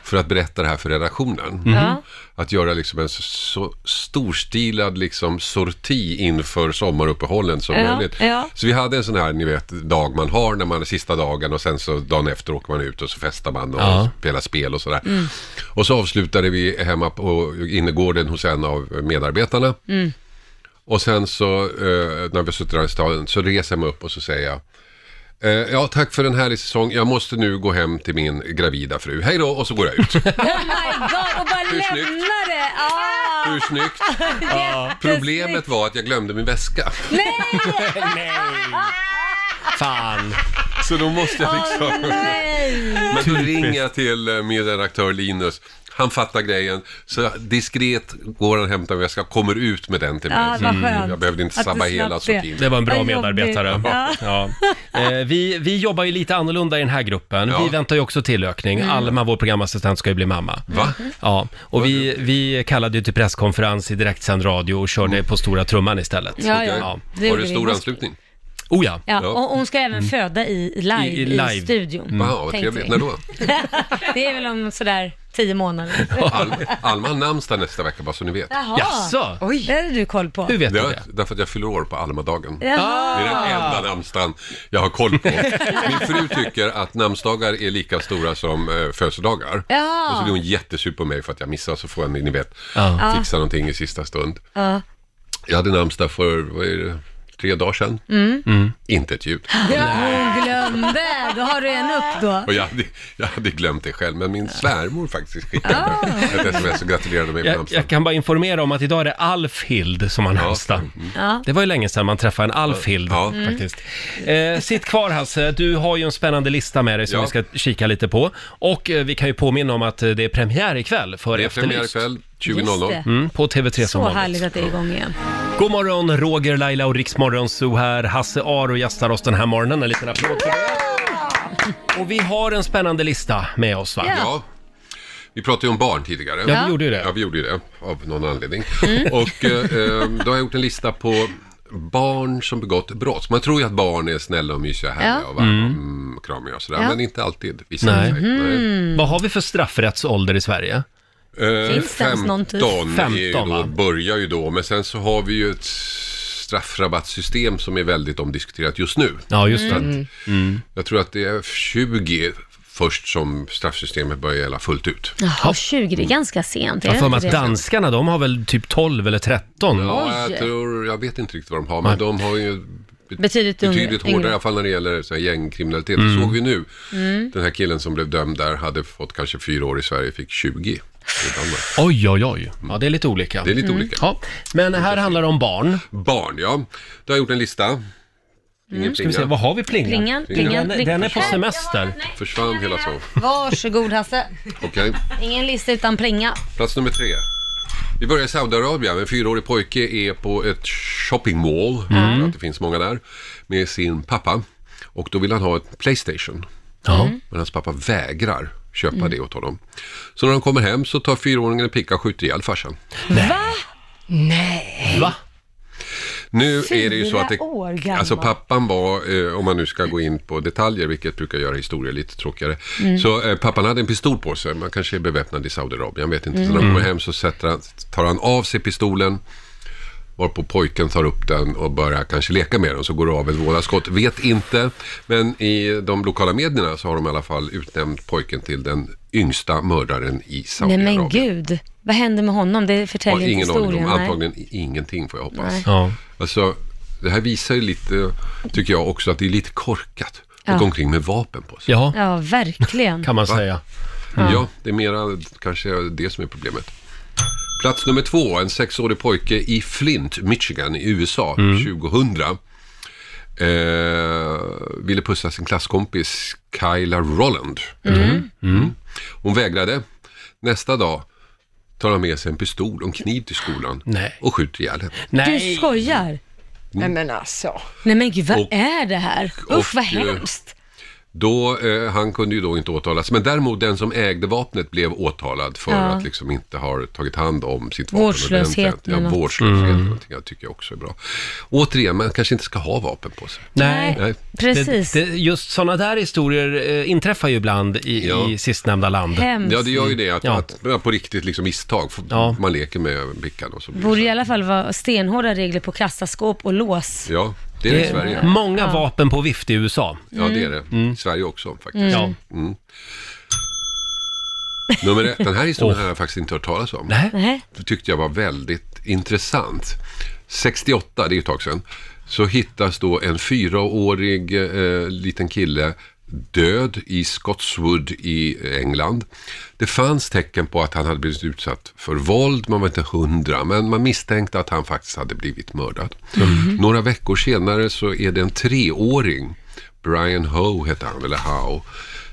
Speaker 11: för att berätta det här för redaktionen.
Speaker 13: Mhm. Ja.
Speaker 11: Att göra liksom en så, så storstilad liksom sorti inför sommaruppehållen som
Speaker 13: Ja,
Speaker 11: möjligt.
Speaker 13: ja.
Speaker 11: Så vi hade en sån här, ni vet, dag man har när man är sista dagen och sen så dagen efter åker man ut och så festar man och
Speaker 1: Ja.
Speaker 11: spelar spel och sådär.
Speaker 13: Mm.
Speaker 11: Och så avslutade vi hemma på innergården hos en av medarbetarna.
Speaker 13: Mm.
Speaker 11: Och sen så, eh, när vi har suttit där i staden, så reser jag mig upp och så säger jag eh, Ja, tack för en härlig säsong. Jag måste nu gå hem till min gravida fru. Hej då! Och så går jag ut.
Speaker 13: Oh my god, och bara lämna det! Ah.
Speaker 11: Hur snyggt!
Speaker 13: Ja.
Speaker 11: Problemet var att jag glömde min väska.
Speaker 13: Nej!
Speaker 1: Fan!
Speaker 11: Så då måste jag liksom...
Speaker 13: Åh, nej.
Speaker 11: Men då ringer jag till eh, min redaktör Linus. Han fattar grejen. Så diskret går han och hämtar min väska, kommer ut med den till mig.
Speaker 13: Ja,
Speaker 11: Så
Speaker 13: Ah, vad skönt.
Speaker 11: Jag behövde inte
Speaker 13: Att du
Speaker 11: sabba
Speaker 13: slapp
Speaker 11: hela
Speaker 13: det.
Speaker 11: sortin.
Speaker 1: Det var en bra
Speaker 13: Vad
Speaker 1: medarbetare.
Speaker 13: jobbigt.
Speaker 1: Ja. Eh, vi, vi jobbar ju lite annorlunda i den här gruppen. Vi väntar ju också tillökning.
Speaker 13: Mm.
Speaker 1: Alma, vår programassistent, ska ju bli mamma.
Speaker 11: Va?
Speaker 1: Ja, och vi, vi kallade ju till presskonferens i direktsänd radio och
Speaker 11: Mm.
Speaker 1: körde på stora trumman istället.
Speaker 13: Ja, ja. Det gjorde vi. Mm.
Speaker 11: anslutning?
Speaker 1: Oh ja.
Speaker 13: Ja, och hon ska även föda i live i,
Speaker 1: live.
Speaker 13: studion.
Speaker 1: Mm. Wow, vad
Speaker 13: tänkte
Speaker 1: trevligt.
Speaker 13: vi.
Speaker 1: När då?
Speaker 13: det är väl om sådär tio månader.
Speaker 11: Al Alma har namnsdag nästa vecka bara så ni vet.
Speaker 13: Jaha. Oj. Det hade du koll på.
Speaker 11: det? har- Därför att jag fyller år på Almadagen.
Speaker 1: Ah.
Speaker 13: Jaha.
Speaker 11: Det är den enda namnsdagen jag har koll på. Min fru tycker att namnsdagar är lika stora som eh, födelsedagar.
Speaker 13: Ja.
Speaker 11: Och så blir hon jättesur på mig för att jag missar så får jag, ni vet,
Speaker 13: Ja.
Speaker 11: fixa någonting i sista stund.
Speaker 13: Ja.
Speaker 11: Jag hade namnsdag för, vad är det, tre dagar sedan.
Speaker 13: Mm.
Speaker 11: Inte ett ljud.
Speaker 13: Ja, hon glömde. Då har du en upp då.
Speaker 11: Och jag hade, jag hade glömt det själv, men min svärmor faktiskt skickade
Speaker 13: Ah.
Speaker 11: ett sms och gratulerade mig med
Speaker 1: Jag,
Speaker 11: namnsdagen.
Speaker 1: jag kan bara informera om att idag är det Alfhild som har namnsdag.
Speaker 11: Mm.
Speaker 13: Ja.
Speaker 1: Det var ju länge sedan man träffade en Alfhild
Speaker 13: Mm.
Speaker 1: faktiskt. Eh, sitt kvar Hasse, du har ju en spännande lista med dig som vi ska kika lite på. Och eh, vi kan ju påminna om att eh, det är premiär ikväll för
Speaker 11: Det är
Speaker 1: Efterlyst.
Speaker 11: premiär ikväll, 20.00.
Speaker 13: Just det.
Speaker 1: Mm, på TV3 som
Speaker 13: Så
Speaker 1: vanligt.
Speaker 13: härligt att det är igång igen.
Speaker 1: God morgon, Roger, Laila och Riksmorgon Zoo här. Hasse Aro gästar oss den här morgonen. En liten applåd för det. Och vi har en spännande lista med oss va?
Speaker 11: Ja. Vi pratade ju om barn tidigare.
Speaker 1: Ja, vi Ja. gjorde ju det. Mm.
Speaker 11: Ja, vi gjorde ju det, av någon anledning. Och eh, eh, då har jag gjort en lista på barn som begått brott. Man tror ju att barn är snälla och mysiga här
Speaker 1: Ja.
Speaker 11: och varma
Speaker 1: Mm.
Speaker 11: mm. kramiga och sådär,
Speaker 1: Ja.
Speaker 11: men inte alltid visar det
Speaker 1: Nej. Mm.
Speaker 11: sig. Nej.
Speaker 1: Vad har vi för straffrättsålder i Sverige?
Speaker 11: Eh,
Speaker 1: Finns det ens någon typ?
Speaker 11: 15, är ju
Speaker 1: 15,
Speaker 11: då,
Speaker 1: va?
Speaker 11: börjar ju då, men sen så har vi ju ett straffrabattsystem som är väldigt omdiskuterat just nu.
Speaker 1: Ja, just det.
Speaker 11: Så att
Speaker 1: Mm.
Speaker 11: Jag tror att det är 20 först som straffsystemet börjar gälla fullt ut.
Speaker 13: Jaha, 20, det är ganska sent.
Speaker 1: Jag
Speaker 13: är
Speaker 1: har för mig
Speaker 13: det
Speaker 1: att
Speaker 13: inte det?
Speaker 1: danskarna, de har väl typ 12 eller 13?
Speaker 11: Ja, jag, tror, jag vet inte riktigt vad de har, men
Speaker 1: Nej.
Speaker 11: de har ju bet-
Speaker 13: Betydligt yngre-
Speaker 11: betydligt hårdare
Speaker 13: yngre.
Speaker 11: i alla fall när det gäller så här gängkriminalitet.
Speaker 1: Mm.
Speaker 11: Det såg vi nu.
Speaker 13: Mm.
Speaker 11: Den här killen som blev dömd där hade fått kanske fyra år i Sverige, fick 20 i Danmark.
Speaker 1: Oj, oj, oj. Ja, det är lite olika.
Speaker 11: Det är lite
Speaker 1: Mm.
Speaker 11: olika.
Speaker 1: Ja. Men här handlar det om barn.
Speaker 11: Barn, ja. Då har jag gjort en lista.
Speaker 13: Mm.
Speaker 1: Ska vi se, vad har vi plingan?
Speaker 13: Plingan, plingan,
Speaker 1: Den, den är på
Speaker 13: plingan.
Speaker 1: semester.
Speaker 11: Försvann hela så.
Speaker 13: Varsågod Hasse.
Speaker 11: Okej,
Speaker 13: Ingen lista utan plinga.
Speaker 11: plats nummer tre. Vi börjar i Saudiarabien. En fyraårig pojke är på ett shopping mall, jag tror att det finns många där, med sin pappa. Och då vill han ha ett Playstation. Mm. Men hans pappa vägrar köpa
Speaker 13: Mm.
Speaker 11: det åt honom. Så när han kommer hem så tar fyraåringen en picka och skjuter ihjäl farsan.
Speaker 13: Va? Nej.
Speaker 1: Va?
Speaker 11: Nu är det ju så att det,
Speaker 13: Fyra år gammal.
Speaker 11: alltså pappan var, eh, om man nu ska gå in på detaljer, vilket brukar göra historier lite tråkigare,
Speaker 13: Mm.
Speaker 11: så eh, pappan hade en pistol på sig, man kanske är beväpnad i Saudiarabien, jag vet inte. Så när
Speaker 1: Mm.
Speaker 11: han kommer hem så sätter han, tar han av sig pistolen, varpå pojken tar upp den och börjar kanske leka med den, så går det av ett vådaskott. Vet inte, men i de lokala medierna så har de i alla fall utnämnt pojken till den yngsta mördaren i
Speaker 13: Nej
Speaker 11: Saudiarabien.
Speaker 13: men gud. Vad hände med honom? Det
Speaker 11: Har
Speaker 13: förtäljer inte
Speaker 11: ingen aning om,
Speaker 13: historien. nej.
Speaker 11: antagligen ingenting får jag
Speaker 13: Nej.
Speaker 11: hoppas.
Speaker 1: Ja.
Speaker 11: Alltså, det här visar ju lite, tycker jag också, att det är lite korkat att
Speaker 13: Ja.
Speaker 11: gå omkring med vapen på sig.
Speaker 1: Ja,
Speaker 13: Ja, verkligen.
Speaker 11: Va?
Speaker 13: Ja.
Speaker 11: Ja, det är mera kanske det som är problemet. Plats nummer två, en sexårig pojke i Flint, Michigan i USA, 2000. Eh, ville pussa sin klasskompis Kyla Rolland.
Speaker 5: Mm.
Speaker 11: Mm. Hon vägrade. Nästa dag tar han med sig en pistol och en kniv till skolan
Speaker 1: Nej.
Speaker 11: och skjuter ihjäl henne.
Speaker 13: Du skojar?
Speaker 2: Nej men alltså.
Speaker 13: Nej men gud, vad
Speaker 11: Och-
Speaker 13: är det här?
Speaker 11: och,
Speaker 13: Usch, vad
Speaker 11: eh,
Speaker 13: hemskt.
Speaker 11: Då, eh, han kunde ju då inte åtalas, men däremot den som ägde vapnet blev åtalad för
Speaker 13: Ja.
Speaker 11: att liksom inte ha tagit hand om sitt vapen.
Speaker 13: Vårdslöshet
Speaker 11: ordentligt. Ja,
Speaker 13: eller något.
Speaker 11: vårdslöshet
Speaker 1: Mm.
Speaker 11: eller någonting, jag tycker jag också är bra. Återigen, man kanske inte ska ha vapen på sig.
Speaker 1: Nej,
Speaker 13: precis.
Speaker 1: Det, det, just sådana där historier eh, inträffar ju ibland i, i sistnämnda land.
Speaker 13: Hemskt.
Speaker 11: Ja, det gör ju det, att,
Speaker 1: Ja.
Speaker 11: att man på riktigt liksom misstag, får- man leker med pickan och så blir
Speaker 13: Borde i alla fall vara stenhårda regler på kassaskåp och lås.
Speaker 11: Ja, det är det i Sverige.
Speaker 13: Mm.
Speaker 1: Många
Speaker 13: Ja.
Speaker 1: vapen på vift i USA.
Speaker 11: Ja, det är det. I Sverige också faktiskt.
Speaker 13: Mm.
Speaker 11: Mm. Nummer ett, den här historien har jag faktiskt inte hört talas om.
Speaker 13: Nej.
Speaker 11: Det tyckte jag var väldigt intressant. 68, det är ju ett tag sedan, så hittas då en fyraårig eh, liten kille död i Scotswood i England. Det fanns tecken på att han hade blivit utsatt för våld, man var inte hundra, men man misstänkte att han faktiskt hade blivit mördad. Några veckor senare så är det en treåring, Brian Howe hette han, eller Howe,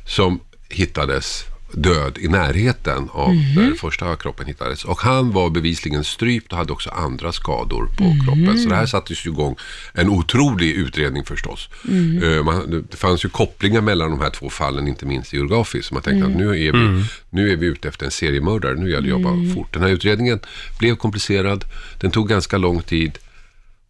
Speaker 11: som hittades död i närheten av
Speaker 5: Mhm.
Speaker 11: där den första kroppen hittades. Och han var bevisligen strypt och hade också andra skador på
Speaker 5: Mhm.
Speaker 11: kroppen. Så det här sattes ju igång en otrolig utredning förstås.
Speaker 5: Mhm.
Speaker 11: Eh, Man, det fanns ju kopplingar mellan de här två fallen, inte minst geografiskt. Så man tänkte
Speaker 5: Mm.
Speaker 11: att nu är, vi,
Speaker 5: Mm.
Speaker 11: nu är vi ute efter en seriemördare, nu gäller det att jobba
Speaker 5: Mm.
Speaker 11: fort. Den här utredningen blev komplicerad, den tog ganska lång tid.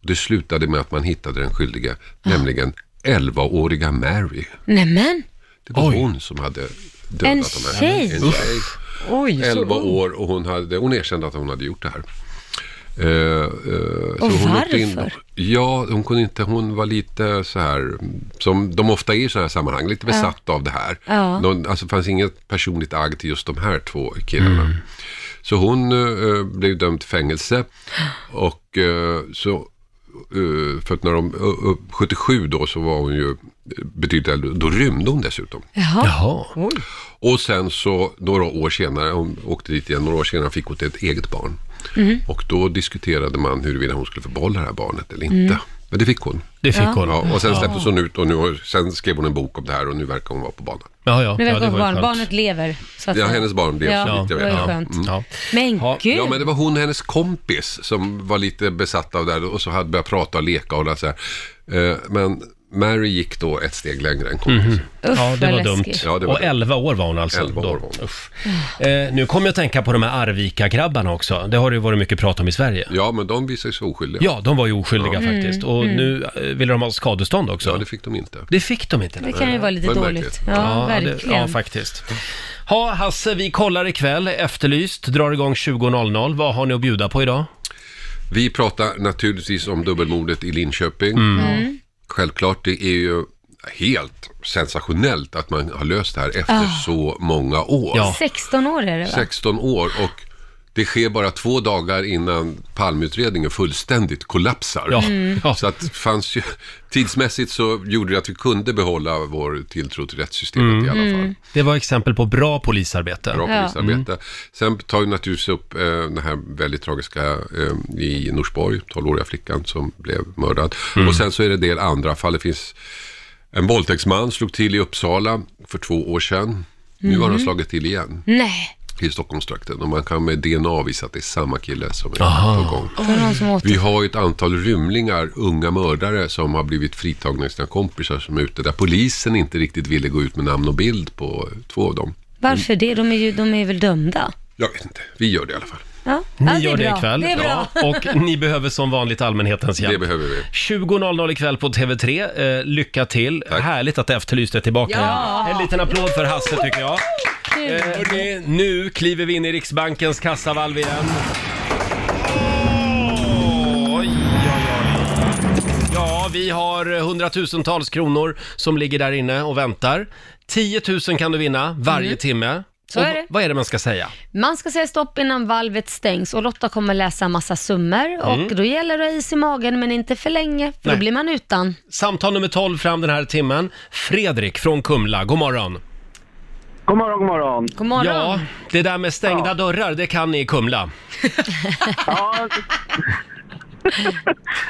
Speaker 11: Det slutade med att man hittade den skyldige, nämligen 11-åriga Mary.
Speaker 13: Nämen.
Speaker 11: Det var hon som hade dödat
Speaker 13: En
Speaker 11: de här.
Speaker 13: tjej.
Speaker 11: En tjej.
Speaker 2: Oj, så
Speaker 11: 11
Speaker 2: ung.
Speaker 11: år och hon, hade, hon erkände att hon hade gjort det här. Eh, eh,
Speaker 5: Och
Speaker 11: hon åkte in-
Speaker 5: varför?
Speaker 11: ja, hon kunde inte, hon var lite så här, som de ofta är i sådana här sammanhang, lite
Speaker 5: Ja.
Speaker 11: besatt av det här.
Speaker 5: Ja.
Speaker 11: De, alltså det fanns inget personligt agg till just de här två killarna. Så hon eh, blev dömd till fängelse och eh, så eh, för att när de, eh, eh, 77 då så var hon ju eh, betydligt äldre, då rymde hon dessutom.
Speaker 5: Jaha.
Speaker 11: Och sen så några år senare, hon åkte dit igen, några år senare fick hon till ett eget barn.
Speaker 5: Mm.
Speaker 11: Och då diskuterade man huruvida hon skulle få behålla det här barnet eller inte.
Speaker 5: Mm.
Speaker 11: Men det fick hon.
Speaker 5: Det fick Ja. hon.
Speaker 11: Ja, och sen
Speaker 5: Ja.
Speaker 11: släpptes hon ut och nu, har- sen skrev hon en bok om det här och nu verkar hon vara på banan.
Speaker 1: Ja,
Speaker 4: Nu verkar barn, barnet lever. Så att
Speaker 11: Ja,
Speaker 4: säga.
Speaker 11: hennes barn blev
Speaker 4: ja,
Speaker 11: så vitt jag vet.
Speaker 4: Det var ju
Speaker 11: Ja.
Speaker 4: skönt.
Speaker 11: Mm.
Speaker 4: Men gud.
Speaker 11: Ja, men det var hon och hennes kompis som var lite besatt av det här och så hade börjat prata och leka och så här. Eh, Men Mary gick då ett steg längre än kompis.
Speaker 1: Mhm. ja, det var dumt.
Speaker 11: Ja, det var
Speaker 1: och
Speaker 11: dumt.
Speaker 1: 11 år var hon alltså.
Speaker 11: 11 år
Speaker 1: då.
Speaker 11: var hon.
Speaker 1: Usch. Eh, nu kommer jag att tänka på de här Arvika-grabbarna också. Det har det ju varit mycket prat om i Sverige.
Speaker 11: Ja, men de visar sig oskyldiga.
Speaker 1: Ja, de var ju oskyldiga
Speaker 11: Ja.
Speaker 1: faktiskt.
Speaker 4: Mm,
Speaker 1: Och
Speaker 4: mm.
Speaker 1: nu eh, ville de ha skadestånd också. Ja, det
Speaker 11: fick de inte.
Speaker 1: Det fick de inte.
Speaker 4: Det
Speaker 1: nej.
Speaker 4: kan ju vara lite Men dåligt. märkligt. Ja,
Speaker 1: Det,
Speaker 4: verkligen.
Speaker 1: ja, faktiskt. Ha, Hasse, vi kollar ikväll. Efterlyst drar igång 20.00. Vad har ni att bjuda på idag?
Speaker 11: Vi pratar naturligtvis om dubbelmordet i Linköping.
Speaker 5: Mm.
Speaker 11: Självklart, det är ju helt sensationellt att man har löst det här efter
Speaker 4: Ah.
Speaker 11: så många år.
Speaker 4: 16 år är det va?
Speaker 11: 16 år och det sker bara två dagar innan palmutredningen fullständigt kollapsar.
Speaker 4: Ja. Mm.
Speaker 11: Så att fanns ju, tidsmässigt så gjorde det att vi kunde behålla vår tilltro till rättssystemet i alla fall.
Speaker 1: Mm. Det var exempel på bra polisarbete.
Speaker 11: Bra polisarbete.
Speaker 1: Mm.
Speaker 11: Sen tar vi naturligtvis upp eh, den här väldigt tragiska eh, i Norsborg, 12-åriga flickan som blev mördad.
Speaker 5: Mm.
Speaker 11: Och sen så är det en del andra fall. Det finns en våldtäktsman slog till i Uppsala för två år sedan. Nu har han
Speaker 4: Mhm.
Speaker 11: slagit till igen
Speaker 4: Nej,
Speaker 11: i Stockholmstrakten och man kan med DNA visa att det är samma kille som är
Speaker 1: Aha.
Speaker 11: på gång.
Speaker 4: det var någon som åt
Speaker 11: Vi har ju ett antal rymlingar, unga mördare som har blivit fritagna av sina kompisar som är ute där polisen inte riktigt ville gå ut med namn och bild på två av dem.
Speaker 4: Varför det? De är ju de är väl dömda?
Speaker 11: Jag vet inte, vi gör det i alla fall.
Speaker 4: Ja.
Speaker 1: Ni
Speaker 4: ja,
Speaker 1: gör
Speaker 4: är
Speaker 1: det
Speaker 4: bra.
Speaker 1: ikväll.
Speaker 4: Det är bra.
Speaker 1: Ja, och ni behöver som vanligt allmänhetens hjälp.
Speaker 11: Det behöver vi.
Speaker 1: 20.00 ikväll på TV3. Eh, lycka till. Härligt att Efterlyst är tillbaka.
Speaker 5: Ja.
Speaker 1: En liten applåd för Hasse tycker jag. Eh, hörni, nu kliver vi in i Riksbankens kassavalv igen. Oj, oj, oj. Ja, vi har hundratusentals kronor som ligger där inne och väntar. 10 000 kan du vinna varje timme.
Speaker 13: Mm. Så
Speaker 1: och
Speaker 13: är det.
Speaker 1: Vad är det man ska säga?
Speaker 13: Man ska säga stopp innan valvet stängs och Lotta kommer läsa massa summor
Speaker 1: Mm.
Speaker 13: och då gäller det att ha is i magen men inte för länge för
Speaker 1: Nej.
Speaker 13: då blir man utan.
Speaker 1: Samtal nummer 12 fram den här timmen. Fredrik från Kumla, god morgon.
Speaker 14: God morgon, god morgon.
Speaker 13: God morgon.
Speaker 1: Ja, det där med stängda dörrar, det kan ni i Kumla.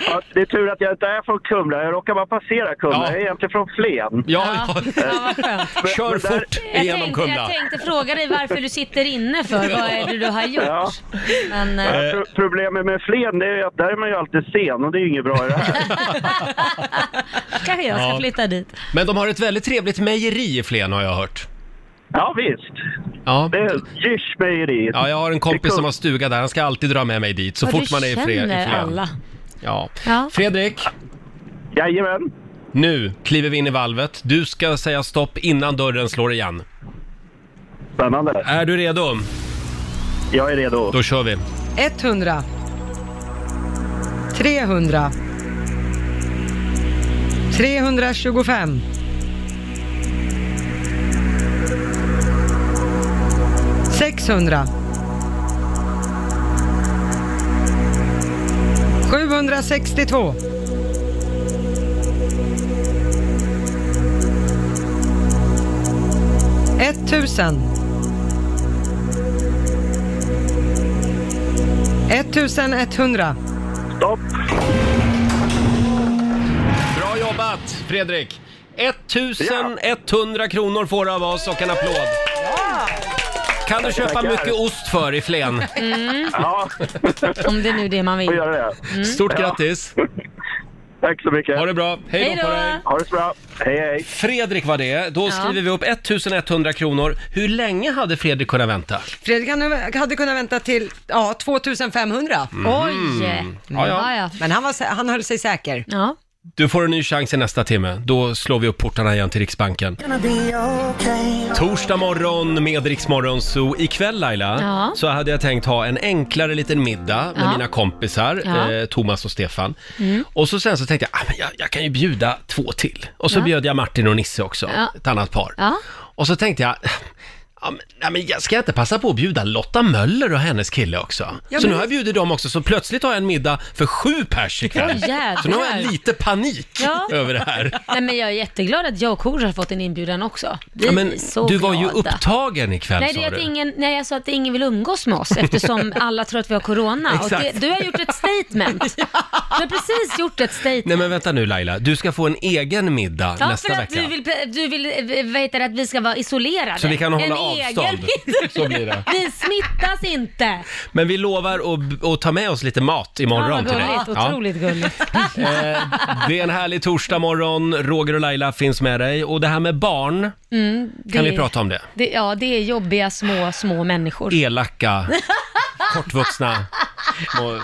Speaker 14: Ja, det är tur att jag inte är från Kumla. Jag råkar bara passera Kumla. Jag är egentligen från Flen.
Speaker 1: Ja,
Speaker 13: Ja, vad skönt.
Speaker 14: Kör fort
Speaker 13: Jag tänkte, jag tänkte fråga dig varför du sitter inne för. Vad är det du har gjort?
Speaker 14: Ja.
Speaker 13: Men, eh,
Speaker 14: Pro problemet med Flen det är ju att där är man ju alltid sen och det är ju inget bra i det här.
Speaker 13: kanske jag ska
Speaker 1: Ja.
Speaker 13: flytta dit.
Speaker 1: Men de har ett väldigt trevligt mejeri i Flen har jag hört.
Speaker 14: Ja, visst.
Speaker 1: Ja.
Speaker 14: Det är Gish mejeri.
Speaker 1: Ja, jag har en
Speaker 14: Det är
Speaker 1: kompis
Speaker 14: kul.
Speaker 1: som har stuga där, han ska alltid dra med mig dit så
Speaker 14: Ja,
Speaker 1: fort
Speaker 14: du
Speaker 1: man är i, fre- i
Speaker 14: känner
Speaker 1: Flen.
Speaker 14: alla.
Speaker 1: Ja.
Speaker 13: Ja.
Speaker 1: Fredrik?
Speaker 14: Jajamän.
Speaker 1: Nu kliver vi in i valvet. Du ska säga stopp innan dörren slår igen.
Speaker 14: Spännande.
Speaker 1: Är du redo?
Speaker 14: Jag är redo.
Speaker 1: Då kör vi.
Speaker 2: 100. 300. 325. 600. 762. 1000. 1100.
Speaker 14: Stopp.
Speaker 1: Bra jobbat Fredrik! 1100 kronor får du av oss och en applåd. Kan du
Speaker 5: Tackar,
Speaker 1: köpa
Speaker 5: tackar.
Speaker 1: mycket ost för i Flen?
Speaker 13: Mm.
Speaker 14: Ja.
Speaker 13: Om det är nu det man vill.
Speaker 14: Får göra det.
Speaker 1: Stort grattis!
Speaker 14: Tack så mycket.
Speaker 1: Ha det bra. Hej då
Speaker 13: Hej
Speaker 1: på
Speaker 13: då.
Speaker 1: dig.
Speaker 14: Ha det så bra. Hej hej.
Speaker 1: Fredrik var det. Då
Speaker 2: Ja.
Speaker 1: skriver vi upp 1100 kronor. Hur länge hade Fredrik kunnat vänta?
Speaker 2: Fredrik han hade kunnat vänta till ja, 2500.
Speaker 1: Mhm. Oj. Ja, ja.
Speaker 2: Men han, var, sä- han höll sig säker.
Speaker 13: Ja.
Speaker 1: Du får en ny chans i nästa timme. Då slår vi upp portarna igen till Riksbanken.
Speaker 15: Gonna be okay.
Speaker 1: Torsdag morgon med Riksmorgon så ikväll Laila
Speaker 15: Ja.
Speaker 1: så hade jag tänkt ha en enklare liten middag med
Speaker 15: Ja.
Speaker 1: mina kompisar,
Speaker 15: Ja.
Speaker 1: eh, Thomas och Stefan.
Speaker 15: Mm.
Speaker 1: Och så sen så tänkte jag, ah, men jag, jag kan ju bjuda två till. Och så
Speaker 15: Ja.
Speaker 1: bjöd jag Martin och Nisse också,
Speaker 15: Ja.
Speaker 1: ett annat par.
Speaker 15: Ja.
Speaker 1: Och så tänkte jag, ja, men, ja, men jag ska jag inte passa på att bjuda Lotta Möller och hennes kille också?
Speaker 15: Ja,
Speaker 1: så
Speaker 15: men-
Speaker 1: nu har jag bjudit dem också, så plötsligt har jag en middag för sju pers ikväll.
Speaker 4: Åh, jävlar.
Speaker 1: så nu har jag lite panik
Speaker 4: Ja.
Speaker 1: över det här.
Speaker 4: Nej, men jag är jätteglad att jag och Kor har fått en inbjudan också. Vi
Speaker 1: Ja, men,
Speaker 4: är så
Speaker 1: du var ju
Speaker 4: glada.
Speaker 1: upptagen ikväll
Speaker 4: Nej,
Speaker 1: sa
Speaker 4: det är
Speaker 1: du.
Speaker 4: att ingen, nej, jag sa att ingen vill umgås med oss eftersom alla tror att vi har corona. Och det,
Speaker 1: Exakt.
Speaker 4: du har gjort ett statement. Du har precis gjort ett statement.
Speaker 1: Nej men vänta nu Laila, du ska få en egen middag
Speaker 4: Ja,
Speaker 1: nästa
Speaker 4: för att
Speaker 1: vecka.
Speaker 4: du vill, du vill eh, vad heter det, att vi ska vara isolerade.
Speaker 1: Så vi kan hålla
Speaker 4: en
Speaker 1: avstånd.
Speaker 4: Egen...
Speaker 1: Så blir det.
Speaker 4: Vi smittas inte.
Speaker 1: Men vi lovar att, att ta med oss lite mat
Speaker 4: ja,
Speaker 1: imorgon
Speaker 4: vad
Speaker 1: till dig.
Speaker 4: gulligt. Otroligt gulligt.
Speaker 1: Ja. Det är en härlig torsdag morgon. Roger och Laila finns med dig. Och det här med barn,
Speaker 4: Mm,
Speaker 1: kan
Speaker 4: det-
Speaker 1: vi prata om det?
Speaker 4: Det, ja, det är jobbiga små, små människor.
Speaker 1: Elaka, kortvuxna små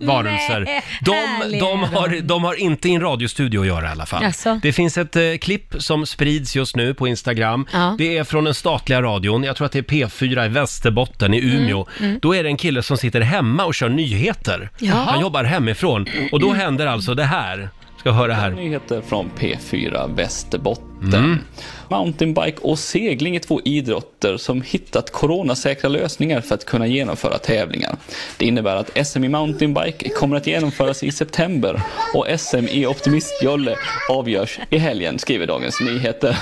Speaker 1: varelser.
Speaker 4: Nej,
Speaker 1: De,
Speaker 4: härliga
Speaker 1: de, har,
Speaker 4: de.
Speaker 1: de har inte i en radiostudio att göra i alla fall.
Speaker 4: Jaså?
Speaker 1: Det finns ett eh, klipp som sprids just nu på Instagram.
Speaker 4: Ja.
Speaker 1: Det är från den statliga radion. Jag tror att det är P4 i Västerbotten i Umeå.
Speaker 4: Mm, mm.
Speaker 1: Då är det en kille som sitter hemma och kör nyheter.
Speaker 4: Jaha.
Speaker 1: Han jobbar hemifrån. Och
Speaker 4: Mm.
Speaker 1: då händer alltså det här. Ska höra här.
Speaker 5: Nyheter från P4 Västerbotten. Mountainbike och segling är två idrotter som hittat coronasäkra lösningar för att kunna genomföra tävlingar. Det innebär att SM i mountainbike kommer att genomföras i september och SM i optimistjolle avgörs i helgen, skriver Dagens Nyheter.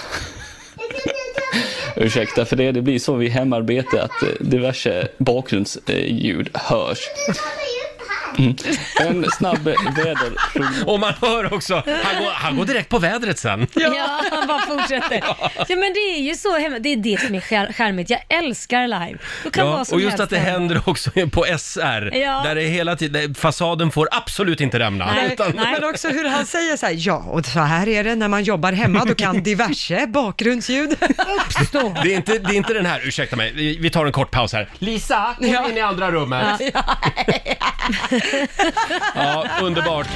Speaker 5: Ursäkta för det, det blir så vid hemarbete att eh, diverse bakgrundsljud eh, hörs. Mm. En snabb väderprognos.
Speaker 1: Och man hör också, han går, han går direkt på vädret sen.
Speaker 4: Ja, han bara fortsätter. Ja, men det är ju så hemma. Det är det som är skär- skärmigt. Jag älskar live. Då kan
Speaker 1: Ja,
Speaker 4: vad som
Speaker 1: och just
Speaker 4: helst
Speaker 1: att det
Speaker 4: hända.
Speaker 1: händer också på SR,
Speaker 4: Ja.
Speaker 1: där det är hela tiden, fasaden får absolut inte rämna.
Speaker 2: Nej,
Speaker 1: utan-
Speaker 2: Men också hur han säger så här, ja och så här är det när man jobbar hemma, då kan diverse bakgrundsljud uppstå.
Speaker 1: Det är, inte, det är inte den här, ursäkta mig, vi vi tar en kort paus här. Lisa, kom in i andra rummet. Ja, underbart.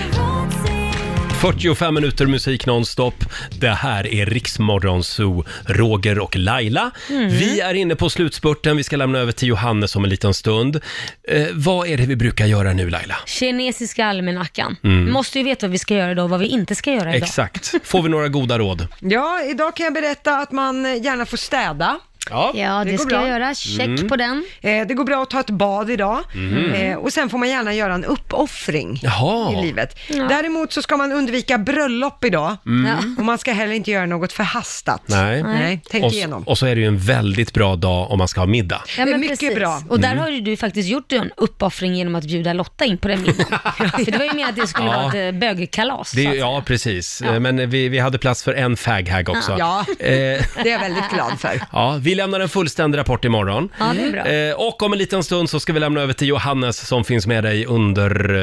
Speaker 1: 45 minuter musik nonstop. Det här är Riksmorgon Zoo, Roger och Laila.
Speaker 15: Mm.
Speaker 1: Vi är inne på slutspurten, vi ska lämna över till Johannes om en liten stund. Eh, vad är det vi brukar göra nu Laila?
Speaker 4: Kinesiska almanackan.
Speaker 1: Mm.
Speaker 4: Vi måste ju veta vad vi ska göra idag och vad vi inte ska göra idag.
Speaker 1: Exakt. Får vi några goda råd?
Speaker 2: Ja, idag kan jag berätta att man gärna får städa.
Speaker 1: Ja,
Speaker 4: Ja, det,
Speaker 2: går
Speaker 4: ska
Speaker 2: bra.
Speaker 4: jag göra. Check
Speaker 2: Mm.
Speaker 4: på den.
Speaker 2: Eh, det går bra att ta ett bad idag
Speaker 4: Mm.
Speaker 2: eh, och sen får man gärna göra en uppoffring
Speaker 1: Mhm. Jaha.
Speaker 2: i livet. Däremot så ska man undvika bröllop idag
Speaker 1: Mm. Ja.
Speaker 2: och man ska heller inte göra något förhastat.
Speaker 1: Nej.
Speaker 2: Nej tänk
Speaker 1: och, s-
Speaker 2: igenom.
Speaker 1: Och så är det ju en väldigt bra dag om man ska ha middag.
Speaker 4: Ja, men
Speaker 2: Mycket
Speaker 4: precis.
Speaker 2: bra.
Speaker 4: Och där
Speaker 1: Mm.
Speaker 4: har ju du faktiskt gjort en uppoffring genom att bjuda Lotta in på den middagen. För det var ju mer att det skulle
Speaker 1: Ja.
Speaker 4: vara ett eh, bögkalas.
Speaker 1: Det,
Speaker 4: så att säga.
Speaker 1: ja, precis.
Speaker 4: Ja.
Speaker 1: Eh, Men vi, vi hade plats för en faghag också.
Speaker 4: Ja.
Speaker 1: Eh,
Speaker 2: Det är jag väldigt glad för.
Speaker 1: ja, vi lämnar en fullständig rapport imorgon.
Speaker 2: Ja, det är bra.
Speaker 1: Eh, och om en liten stund så ska vi lämna över till Johannes som finns med dig under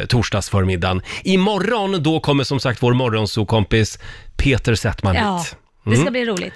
Speaker 1: eh, torsdagsförmiddagen. Imorgon, då kommer som sagt vår morgonsokompis Peter Settman
Speaker 4: Ja,
Speaker 1: hit.
Speaker 4: det ska
Speaker 1: Mm.
Speaker 4: bli roligt.